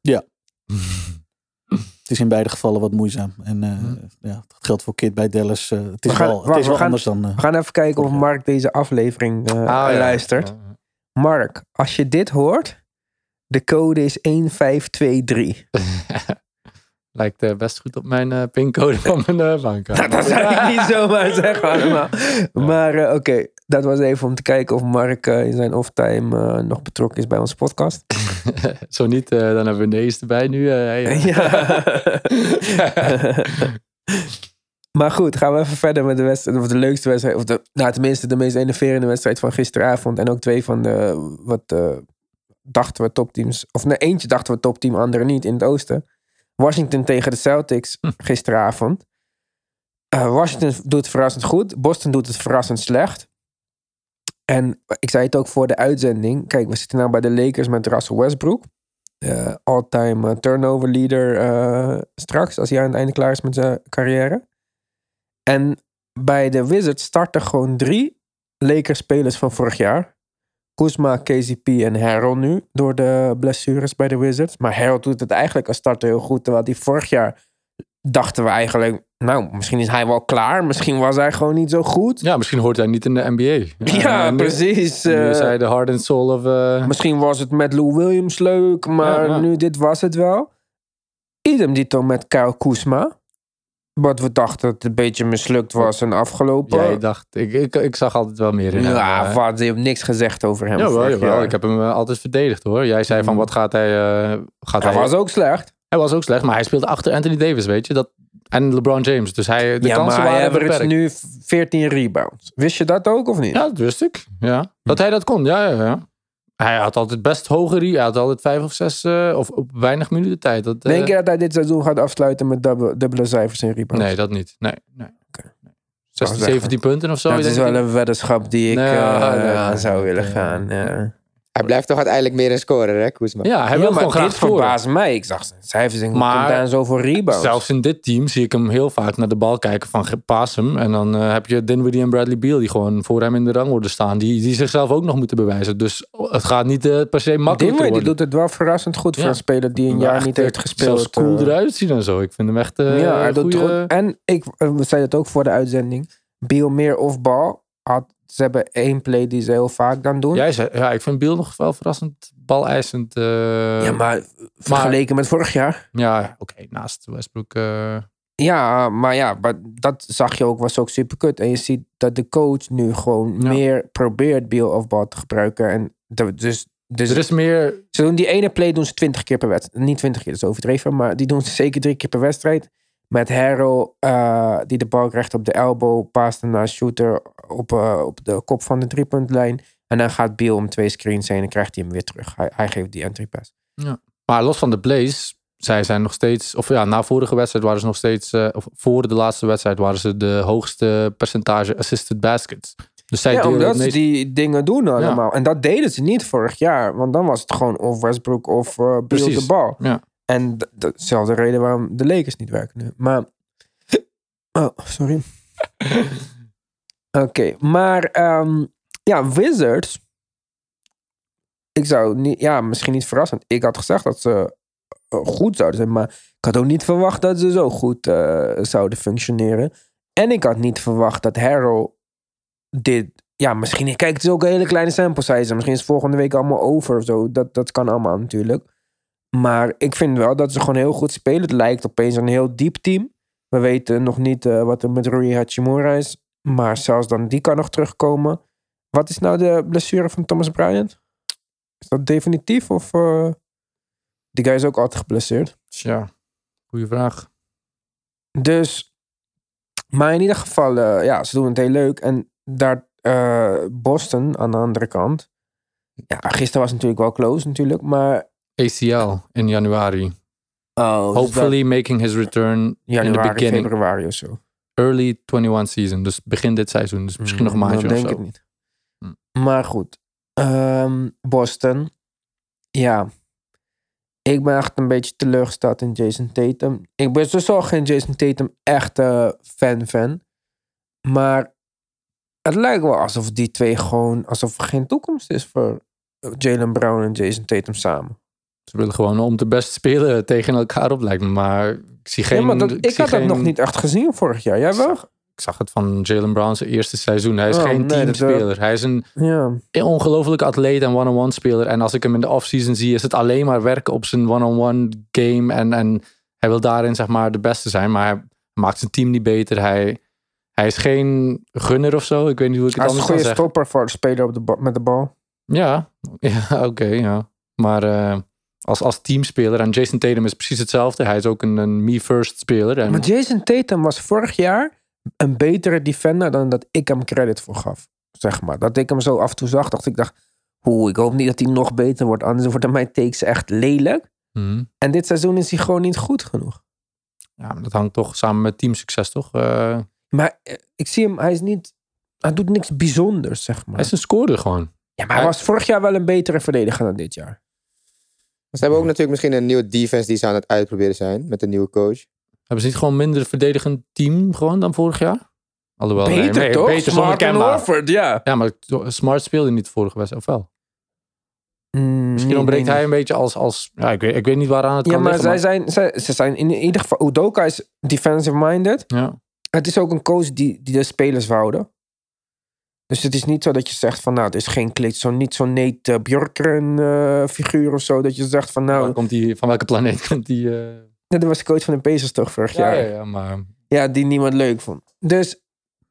Speaker 5: het is in beide gevallen wat moeizaam. En eh,
Speaker 3: Hm.
Speaker 5: ja, dat geldt voor Kid bij Dallas. eh, het is
Speaker 1: We gaan-
Speaker 5: wel, het
Speaker 1: wacht,
Speaker 5: is
Speaker 1: we
Speaker 5: wel
Speaker 1: gaan-
Speaker 5: anders dan... eh,
Speaker 1: We gaan even kijken of
Speaker 5: Ja.
Speaker 1: Mark deze aflevering eh,
Speaker 3: Ah, ja.
Speaker 1: luistert.
Speaker 3: Ja.
Speaker 1: Mark, als je dit hoort, de code is 1523.
Speaker 3: Lijkt eh, best goed op mijn eh, pincode
Speaker 1: [laughs]
Speaker 3: van mijn eh, bankkaart.
Speaker 1: [laughs] Dat zou ik niet zomaar zeggen allemaal. Maar eh, oké, dat was even om te kijken of Mark eh, in zijn off-time eh, nog betrokken is bij onze podcast.
Speaker 3: Zo niet, eh, dan hebben we Nees erbij nu. eh,
Speaker 1: [laughs]
Speaker 3: hey, eh.
Speaker 1: maar goed, gaan we even verder met de wedstrijd. Of de leukste wedstrijd. Of de, nou, tenminste, de meest enerverende wedstrijd van gisteravond. En ook twee van de. Wat eh, dachten we topteams. Of nee, eentje dachten we topteam, andere niet in het oosten. Washington tegen de Celtics gisteravond. Eh, Washington doet het verrassend goed. Boston doet het verrassend slecht. En ik zei het ook voor de uitzending. Kijk, we zitten nou bij de Lakers met Russell Westbrook. Eh, all-time eh, turnover leader eh, straks, als hij aan het einde klaar is met zijn carrière. En bij de Wizards starten gewoon drie Lakers-spelers van vorig jaar. Kuzma, KCP en Harold nu, door de blessures bij de Wizards. Maar Harold doet het eigenlijk als starter heel goed, terwijl hij vorig jaar dachten we eigenlijk... Nou, misschien is hij wel klaar, misschien was hij gewoon niet zo goed.
Speaker 3: ja, misschien hoort hij niet in de NBA.
Speaker 1: [laughs] Ja,
Speaker 3: en nu-
Speaker 1: precies.
Speaker 3: Nu is
Speaker 1: eh,
Speaker 3: hij de hard and soul of... eh,
Speaker 1: Misschien was het met Lou Williams leuk, maar
Speaker 3: Ja, ja.
Speaker 1: nu dit was het wel. Idem dito met Kyle Kuzma. Wat we dachten dat het een beetje mislukt was en afgelopen.
Speaker 3: jij dacht, ik, ik, ik zag altijd wel meer in hem, eh.
Speaker 1: ja, wat, je hebt niks gezegd over hem.
Speaker 3: Jawel,
Speaker 1: vorig
Speaker 3: jawel.
Speaker 1: jaar.
Speaker 3: Ik heb hem eh, altijd verdedigd hoor. Jij zei van
Speaker 1: Mm.
Speaker 3: wat gaat hij... eh, gaat
Speaker 1: Hij was ook slecht.
Speaker 3: hij was ook slecht, maar hij speelde achter Anthony Davis, weet je. Dat, en LeBron James. Dus hij, de
Speaker 1: ja,
Speaker 3: kansen
Speaker 1: maar hij
Speaker 3: waren
Speaker 1: averaged
Speaker 3: beperkt.
Speaker 1: nu 14 rebounds. Wist je dat ook of niet?
Speaker 3: Ja, dat wist ik.
Speaker 1: Hm.
Speaker 3: Ja. Dat hij dat kon, ja, ja, ja. Hij had altijd best hoge re- Hij had altijd vijf of zes, eh, of op weinig minuten tijd. Dat, eh,
Speaker 1: Denk je dat hij dit seizoen gaat afsluiten met dubbele, dubbele cijfers in rebounds?
Speaker 3: Nee, dat niet. Nee, nee.
Speaker 1: Oké.
Speaker 3: 16,
Speaker 1: zeggen.
Speaker 3: 17 punten of zo.
Speaker 1: dat
Speaker 3: ik
Speaker 1: is
Speaker 3: denk
Speaker 1: wel een weddenschap die ik
Speaker 3: Nee,
Speaker 1: eh,
Speaker 3: ja, ja,
Speaker 1: aan zou
Speaker 3: ja,
Speaker 1: willen
Speaker 3: ja.
Speaker 1: gaan. ja.
Speaker 4: Hij blijft toch uiteindelijk meer een scorer, hè, Koesma?
Speaker 3: Ja, hij
Speaker 1: ja,
Speaker 3: wil
Speaker 1: maar
Speaker 3: gewoon graag
Speaker 1: dit
Speaker 3: scoren.
Speaker 1: verbaast mij. Ik zag zijn cijfers en
Speaker 3: Maar-
Speaker 1: komt daar zoveel rebounds.
Speaker 3: Zelfs in dit team zie ik hem heel vaak naar de bal kijken van "Ge- paas hem. En dan eh, heb je Dinwiddie en Bradley Beal die gewoon voor hem in de rangorde staan. Die, die zichzelf ook nog moeten bewijzen. Dus het gaat niet eh, per se makkelijk
Speaker 1: Dinwiddie
Speaker 3: worden.
Speaker 1: doet het wel verrassend goed voor
Speaker 3: Ja.
Speaker 1: een speler die een
Speaker 3: Maar
Speaker 1: jaar
Speaker 3: echt,
Speaker 1: niet
Speaker 3: eh,
Speaker 1: heeft gespeeld.
Speaker 3: Zelfs cool
Speaker 1: eh.
Speaker 3: eruit zien en zo. Ik vind hem echt eh
Speaker 1: ja, hij doet het
Speaker 3: goeie-
Speaker 1: goed. En ik eh, we zeiden het ook voor de uitzending. Beal meer of bal. Had, ze hebben één play die ze heel vaak dan doen. Ja,
Speaker 3: Jij zei, ja, ik vind Beal nog wel verrassend baleisend. eh,
Speaker 1: maar vergeleken met vorig jaar.
Speaker 3: Ja, oké, naast Westbrook. eh,
Speaker 1: Ja, maar ja, maar dat zag je ook, was ook super kut. En je ziet dat de coach nu gewoon
Speaker 3: Ja.
Speaker 1: meer probeert Biel of bal te gebruiken. En de- dus, dus
Speaker 3: er is meer...
Speaker 1: ze doen die ene play doen ze twintig keer per wedstrijd. Niet twintig keer, dat is overdreven, maar die doen ze zeker drie keer per wedstrijd. Met Harrow, eh, die de bal krijgt op de elbow, paast naar shooter op, eh, op de kop van de driepuntlijn. En dan gaat Biel om twee screens heen en krijgt hij hem weer terug. Hij, hij geeft die entry pass.
Speaker 3: Maar los van de plays, zij zijn nog steeds... Of ja, na vorige wedstrijd waren ze nog steeds... eh, of voor de laatste wedstrijd waren ze de hoogste percentage assisted baskets. Dus zij
Speaker 1: ja,
Speaker 3: delen
Speaker 1: omdat
Speaker 3: het
Speaker 1: ze
Speaker 3: meest-
Speaker 1: die dingen doen allemaal. En dat deden ze niet vorig jaar. Want dan was het gewoon of Westbrook of eh Beal
Speaker 3: Precies.
Speaker 1: de bal.
Speaker 3: Ja.
Speaker 1: En d- dezelfde reden waarom de Lakers niet werken nu. Maar... Oh,
Speaker 3: [laughs]
Speaker 1: sorry. Oké, maar... ehm, ja, Wizards... Ik zou niet... Ja, misschien niet verrassend. Ik had gezegd dat ze eh, goed zouden zijn. Maar ik had ook niet verwacht dat ze zo goed eh, zouden functioneren. En ik had niet verwacht dat Harrell dit. Ja, misschien. Kijk, het is ook een hele kleine sample size. Misschien is het volgende week allemaal over of zo. Dat, dat kan allemaal natuurlijk. Maar ik vind wel dat ze gewoon heel goed spelen. Het lijkt opeens een heel diep team. We weten nog niet eh, wat er met Rui Hachimura is. Maar zelfs dan, die kan nog terugkomen. Wat is nou de blessure van Thomas Bryant? Is dat definitief? Of. eh, die guy is ook altijd geblesseerd.
Speaker 3: Tja, goede vraag.
Speaker 1: Dus, maar in ieder geval, eh, ja, ze doen het heel leuk. En daar eh, Boston aan de andere kant. Ja, gisteren was natuurlijk wel close natuurlijk, maar...
Speaker 3: ACL in januari.
Speaker 1: Oh,
Speaker 3: Hopefully making his return dus in
Speaker 1: januari,
Speaker 3: the beginning.
Speaker 1: februari of zo.
Speaker 3: Early 21 season. Dus begin dit seizoen. Dus misschien nog een
Speaker 1: Hmm,
Speaker 3: maandje
Speaker 1: dan
Speaker 3: of
Speaker 1: denk
Speaker 3: zo.
Speaker 1: ik het niet.
Speaker 3: Mm.
Speaker 1: Maar goed, Ehm, Boston. Ja, ik ben echt een beetje teleurgesteld in Jason Tatum. Ik ben dus al geen Jason Tatum echte fan-fan. Maar het lijkt wel alsof die twee gewoon... alsof er geen toekomst is voor Jalen Brown en Jason Tatum samen.
Speaker 3: Ze willen gewoon om te best spelen tegen elkaar op, lijkt me. Maar ik zie geen...
Speaker 1: ja, maar dat, ik,
Speaker 3: zie
Speaker 1: had dat
Speaker 3: geen-
Speaker 1: nog niet echt gezien vorig jaar. Jij wel?
Speaker 3: Ik zag het van Jalen Brown zijn eerste seizoen. Hij is
Speaker 1: Oh,
Speaker 3: geen
Speaker 1: nee, dat-
Speaker 3: teamspeler. Hij is een
Speaker 1: Ja.
Speaker 3: ongelofelijke atleet en one-on-one speler. En als ik hem in de offseason zie, is het alleen maar werken op zijn one-on-one game. En, en hij wil daarin zeg maar de beste zijn. Maar hij maakt zijn team niet beter. Hij, hij is geen gunner of zo. Ik weet niet hoe ik het
Speaker 1: Hij is een
Speaker 3: anders kan
Speaker 1: goede
Speaker 3: zeggen.
Speaker 1: stopper voor de speler op de ba- met de bal.
Speaker 3: Ja, ja [laughs] oké. ja. Maar eh, als, als teamspeler, en Jason Tatum is precies hetzelfde. Hij is ook een, een me-first speler. En,
Speaker 1: Maar Jason Tatum was vorig jaar een betere defender dan dat ik hem credit voor gaf. Zeg maar. Dat ik hem zo af en toe zag, dacht ik, dacht, hoe, ik hoop niet dat hij nog beter wordt. Anders worden mijn takes echt lelijk.
Speaker 3: Mhm.
Speaker 1: En dit seizoen is hij gewoon niet goed genoeg.
Speaker 3: ja, maar dat hangt toch samen met teamsucces, toch? Eh,
Speaker 1: Maar eh, ik zie hem, hij is niet, hij doet niks bijzonders, zeg maar.
Speaker 3: Hij is een scorer gewoon.
Speaker 1: ja, maar hij was vorig jaar wel een betere verdediger dan dit jaar.
Speaker 4: Ze hebben ook natuurlijk misschien een nieuwe defense die ze aan het uitproberen zijn met een nieuwe coach.
Speaker 3: Hebben ze niet gewoon minder verdedigend team gewoon dan vorig jaar? Alhoewel, nee,
Speaker 1: beter
Speaker 3: nee,
Speaker 1: toch?
Speaker 3: Beter zonder
Speaker 1: Smart en
Speaker 3: Kemba.
Speaker 1: Horford, ja.
Speaker 3: Ja, maar Smart speelde niet vorige wedstrijd, of wel?
Speaker 1: Misschien
Speaker 3: Misschien ontbreekt hij een beetje als... als ja, ik, weet, ik weet niet waaraan het
Speaker 1: Ja,
Speaker 3: kan
Speaker 1: maar zij
Speaker 3: liggen,
Speaker 1: zijn, zij, ze zijn in ieder geval... Udoka is defensive-minded.
Speaker 3: Ja.
Speaker 1: Het is ook een coach die, die de spelers wouden. Dus het is niet zo dat je zegt van nou, het is geen klit, zo niet zo'n Nate eh, Bjorkgren eh, figuur of zo. Dat je zegt van
Speaker 3: Waar
Speaker 1: nou,
Speaker 3: komt die, van welke planeet komt die... eh,
Speaker 1: dat was de coach van de Pacers toch vorig
Speaker 3: ja,
Speaker 1: jaar.
Speaker 3: ja,
Speaker 1: Ja.
Speaker 3: ja, maar...
Speaker 1: die niemand leuk vond. Dus,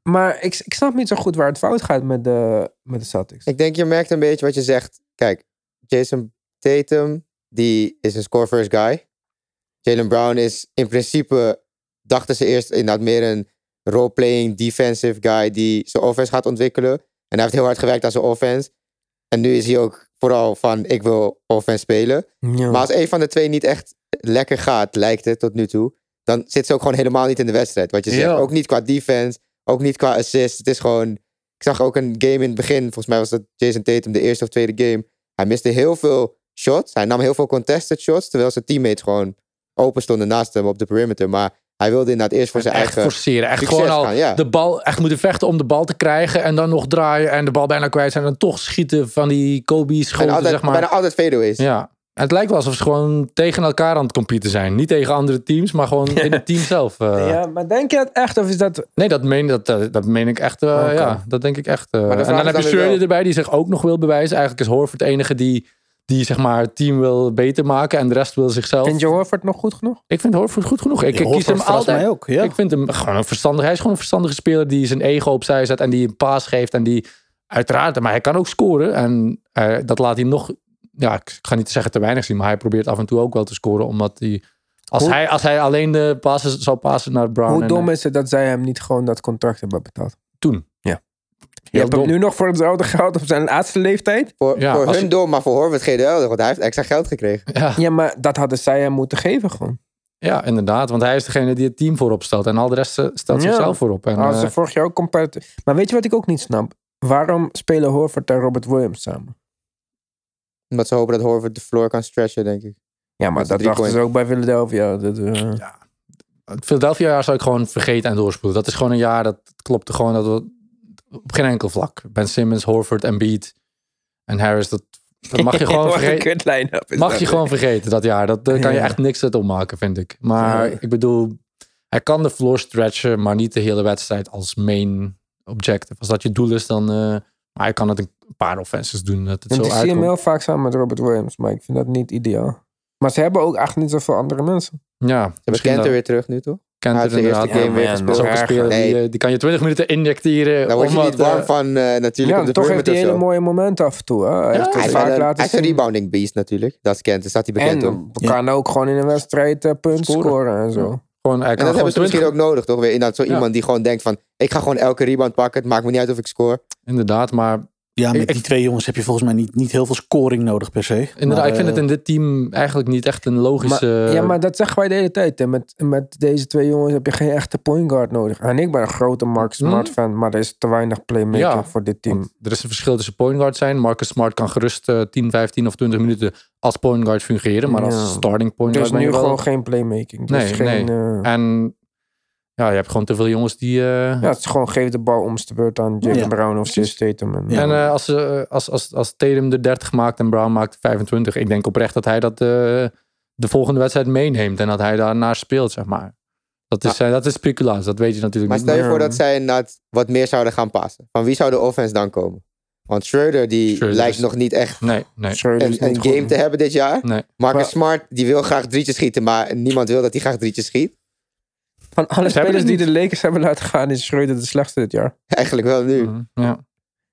Speaker 1: maar ik, ik snap niet zo goed waar het fout gaat met de, met de Celtics.
Speaker 4: Ik denk je merkt een beetje wat je zegt. Kijk, Jason Tatum, die is een score-first guy. Jalen Brown is in principe, dachten ze eerst inderdaad meer een role-playing defensive guy die zijn offense gaat ontwikkelen. En hij heeft heel hard gewerkt aan zijn offense. En nu is hij ook vooral van, ik wil offense spelen.
Speaker 1: ja.
Speaker 4: Maar
Speaker 3: Oh.
Speaker 4: als een van de twee niet echt lekker gaat, lijkt het tot nu toe, dan zit ze ook gewoon helemaal niet in de wedstrijd. Wat je zegt,
Speaker 1: Ja.
Speaker 4: ook niet qua defense, ook niet qua assist. Het is gewoon, ik zag ook een game in het begin, volgens mij was dat Jason Tatum de eerste of tweede game. Hij miste heel veel shots, hij nam heel veel contested shots, terwijl zijn teammates gewoon open stonden naast hem op de perimeter. Maar hij wilde inderdaad eerst voor zijn
Speaker 3: echt
Speaker 4: eigen...
Speaker 3: forceren. Echt
Speaker 4: succes
Speaker 3: gewoon al
Speaker 4: gaan, ja.
Speaker 3: de bal echt moeten vechten om de bal te krijgen. En dan nog draaien en de bal bijna kwijt zijn. En toch schieten van die Kobe
Speaker 4: En
Speaker 3: schoten,
Speaker 4: altijd,
Speaker 3: zeg maar.
Speaker 4: bijna altijd fadeaways.
Speaker 3: Ja. En het lijkt wel alsof ze gewoon tegen elkaar aan het competen zijn. Niet tegen andere teams, maar
Speaker 1: [laughs]
Speaker 3: gewoon in het team zelf. eh.
Speaker 1: ja, maar denk je dat echt of is dat...
Speaker 3: Nee, dat meen, dat, dat, dat meen ik echt. eh,
Speaker 1: Oké.
Speaker 3: Ja, dat denk ik echt. eh.
Speaker 4: de vraag
Speaker 3: en
Speaker 4: is
Speaker 3: dan heb je
Speaker 4: dan weer
Speaker 3: Shirley
Speaker 4: wel-
Speaker 3: erbij die zich ook nog wil bewijzen. Eigenlijk is Horford de enige die, die zeg maar, het team wil beter maken en de rest wil zichzelf.
Speaker 1: Vind je Horford nog goed genoeg?
Speaker 3: Ik vind Horford goed genoeg. Ik, ik kies hem altijd.
Speaker 5: Mij ook, ja.
Speaker 3: Ik vind hem gewoon een verstandig. Hij is gewoon een verstandige speler die zijn ego opzij zet en die een paas geeft. En die uiteraard, maar hij kan ook scoren. En eh, dat laat hij nog. Ja, ik ga niet zeggen te weinig zien, maar hij probeert af en toe ook wel te scoren. Omdat hij. Als,
Speaker 1: Hoe-
Speaker 3: hij, als hij alleen de passen zou passen naar Brown.
Speaker 1: Hoe
Speaker 3: en- [laughs]
Speaker 1: dom is het dat zij hem niet gewoon dat contract hebben betaald?
Speaker 3: Toen.
Speaker 1: Ja. Je
Speaker 3: Heel
Speaker 1: hebt hem
Speaker 3: dom.
Speaker 1: nu nog voor hetzelfde geld op zijn laatste leeftijd?
Speaker 4: Voor,
Speaker 3: Ja,
Speaker 4: voor
Speaker 3: als
Speaker 4: hun
Speaker 3: je-
Speaker 4: dom, maar voor Horvath geen duidelijk, want hij heeft extra geld gekregen.
Speaker 3: Ja,
Speaker 1: Ja, maar dat hadden zij hem moeten geven gewoon.
Speaker 3: ja, inderdaad. Want hij is degene die het team voorop stelt. En al de rest eh, stelt
Speaker 1: Ja.
Speaker 3: zichzelf voorop. En,
Speaker 1: Als
Speaker 3: eh,
Speaker 1: ze vorig jaar ook comparativ. Maar weet je wat ik ook niet snap? Waarom spelen Horford en Robert Williams samen?
Speaker 4: Omdat ze hopen dat Horvath de floor kan stretchen, denk ik.
Speaker 1: Ja, maar
Speaker 4: Dat is
Speaker 1: dat
Speaker 4: drie
Speaker 1: dachten ze
Speaker 4: point.
Speaker 1: ook bij Philadelphia. Dat, eh,
Speaker 3: het Philadelphia-jaar zou ik gewoon vergeten en doorspoelen. Dat is gewoon een jaar dat klopte gewoon dat we, op geen enkel vlak. Ben Simmons, Horford, Embiid en Harris, dat, dat
Speaker 1: [laughs]
Speaker 3: mag je gewoon
Speaker 1: Wat een
Speaker 3: vergeten.
Speaker 1: kut line-up is
Speaker 3: Mag
Speaker 1: dat,
Speaker 3: je
Speaker 1: hè?
Speaker 3: gewoon vergeten dat jaar. Dat, daar kan je
Speaker 1: Ja.
Speaker 3: echt niks uit opmaken, vind ik. Maar
Speaker 1: Ja.
Speaker 3: ik bedoel, hij kan de floor stretchen, maar niet de hele wedstrijd als main objective. Als dat je doel is, dan... eh, maar hij kan het een paar offenses doen, dat het
Speaker 1: Want ik
Speaker 3: zo
Speaker 1: zie hem
Speaker 3: uitkomt.
Speaker 1: heel vaak samen met Robert Williams, maar ik vind dat niet ideaal. Maar ze hebben ook echt niet zoveel andere mensen.
Speaker 3: Ja,
Speaker 4: Ze
Speaker 3: misschien
Speaker 4: bekent er
Speaker 3: dat-
Speaker 4: weer terug nu, toch?
Speaker 3: Kenter
Speaker 4: uit de
Speaker 3: inderdaad.
Speaker 4: eerste game
Speaker 1: Ja,
Speaker 4: weer
Speaker 1: man,
Speaker 3: Dat
Speaker 4: gespeeld.
Speaker 3: is ook een
Speaker 1: Erger.
Speaker 3: speler die,
Speaker 4: Nee.
Speaker 3: eh, die kan je 20 minuten injecteren.
Speaker 4: Daar word je
Speaker 3: om
Speaker 4: niet
Speaker 3: wat, eh,
Speaker 4: warm van, eh, natuurlijk,
Speaker 1: Ja,
Speaker 4: op de
Speaker 1: toch heeft hij
Speaker 4: perimeter of
Speaker 1: hele
Speaker 4: zo.
Speaker 1: mooie momenten af en toe. Hè? Hij
Speaker 3: Ja,
Speaker 1: heeft
Speaker 4: Hij
Speaker 1: het
Speaker 4: is,
Speaker 1: vaak
Speaker 4: wel een,
Speaker 1: laten
Speaker 4: hij is een
Speaker 1: zien.
Speaker 4: rebounding beast natuurlijk. Dat is Kent, daar staat hij bekend om. En
Speaker 1: En kan ook gewoon in een wedstrijd eh, punten
Speaker 3: Scoren.
Speaker 1: scoren en zo.
Speaker 3: Gewoon, hij kan
Speaker 4: dat
Speaker 3: gewoon
Speaker 4: hebben ze misschien
Speaker 3: 20
Speaker 4: ook nodig, toch? Weer inderdaad zo
Speaker 3: Ja.
Speaker 4: iemand die gewoon denkt van... ik ga gewoon elke rebound pakken, het maakt me niet uit of ik score.
Speaker 3: Inderdaad, maar
Speaker 5: Ja, met
Speaker 3: Ik-
Speaker 5: die twee jongens heb je volgens mij niet, niet heel veel scoring nodig per se.
Speaker 3: inderdaad,
Speaker 5: Maar,
Speaker 3: ik vind
Speaker 5: eh,
Speaker 3: het in dit team eigenlijk niet echt een logische...
Speaker 1: Maar- ja, maar dat zeggen wij de hele tijd. Hè. Met, met deze twee jongens heb je geen echte point guard nodig. En ik ben een grote Mark Smart
Speaker 3: Hmm.
Speaker 1: fan, maar er is te weinig playmaking
Speaker 3: Ja,
Speaker 1: voor dit team.
Speaker 3: Want er is een verschil tussen point guard zijn. Marcus Smart kan gerust eh, 10, 15 of 20 minuten als point guard fungeren. Maar
Speaker 1: Ja.
Speaker 3: als starting point
Speaker 1: Er
Speaker 3: guard
Speaker 1: is
Speaker 3: ben je
Speaker 1: nu
Speaker 3: wel...
Speaker 1: gewoon geen playmaking. Dus
Speaker 3: Nee,
Speaker 1: geen, eh,
Speaker 3: En ja, je hebt gewoon te veel jongens die... eh,
Speaker 1: ja, het is gewoon geef de bal om de beurt aan Jalen
Speaker 5: Ja.
Speaker 1: Brown of Sis
Speaker 3: Precies.
Speaker 1: Tatum. En,
Speaker 3: En eh, als, ze- als, als, als Tatum er 30 maakt en Brown maakt 25... Ik denk oprecht dat hij dat eh, de volgende wedstrijd meeneemt. En dat hij daarnaar speelt, zeg maar. Dat is, eh, dat is speculaas, dat weet je natuurlijk
Speaker 4: Maar
Speaker 3: niet.
Speaker 4: stel je
Speaker 1: Ja.
Speaker 4: voor dat zij inderdaad wat meer zouden gaan passen. Van wie zou de offense dan komen? Want Schroeder, die
Speaker 3: Schreuder
Speaker 4: lijkt
Speaker 3: is-
Speaker 4: nog niet echt
Speaker 3: Nee, nee.
Speaker 1: Schreuder is
Speaker 4: een,
Speaker 1: niet
Speaker 4: een
Speaker 1: goed.
Speaker 4: game te hebben dit jaar.
Speaker 3: Nee.
Speaker 4: Marcus
Speaker 1: Maar-
Speaker 4: Smart, die wil graag drietjes schieten, maar niemand wil dat hij graag drietjes schiet. [laughs]
Speaker 1: Van alle
Speaker 3: Ze hebben dus
Speaker 1: spelers
Speaker 3: het
Speaker 1: die de Lakers hebben laten gaan, is Schreuder de slechtste dit jaar.
Speaker 4: Eigenlijk wel nu.
Speaker 3: Mhm, Ja.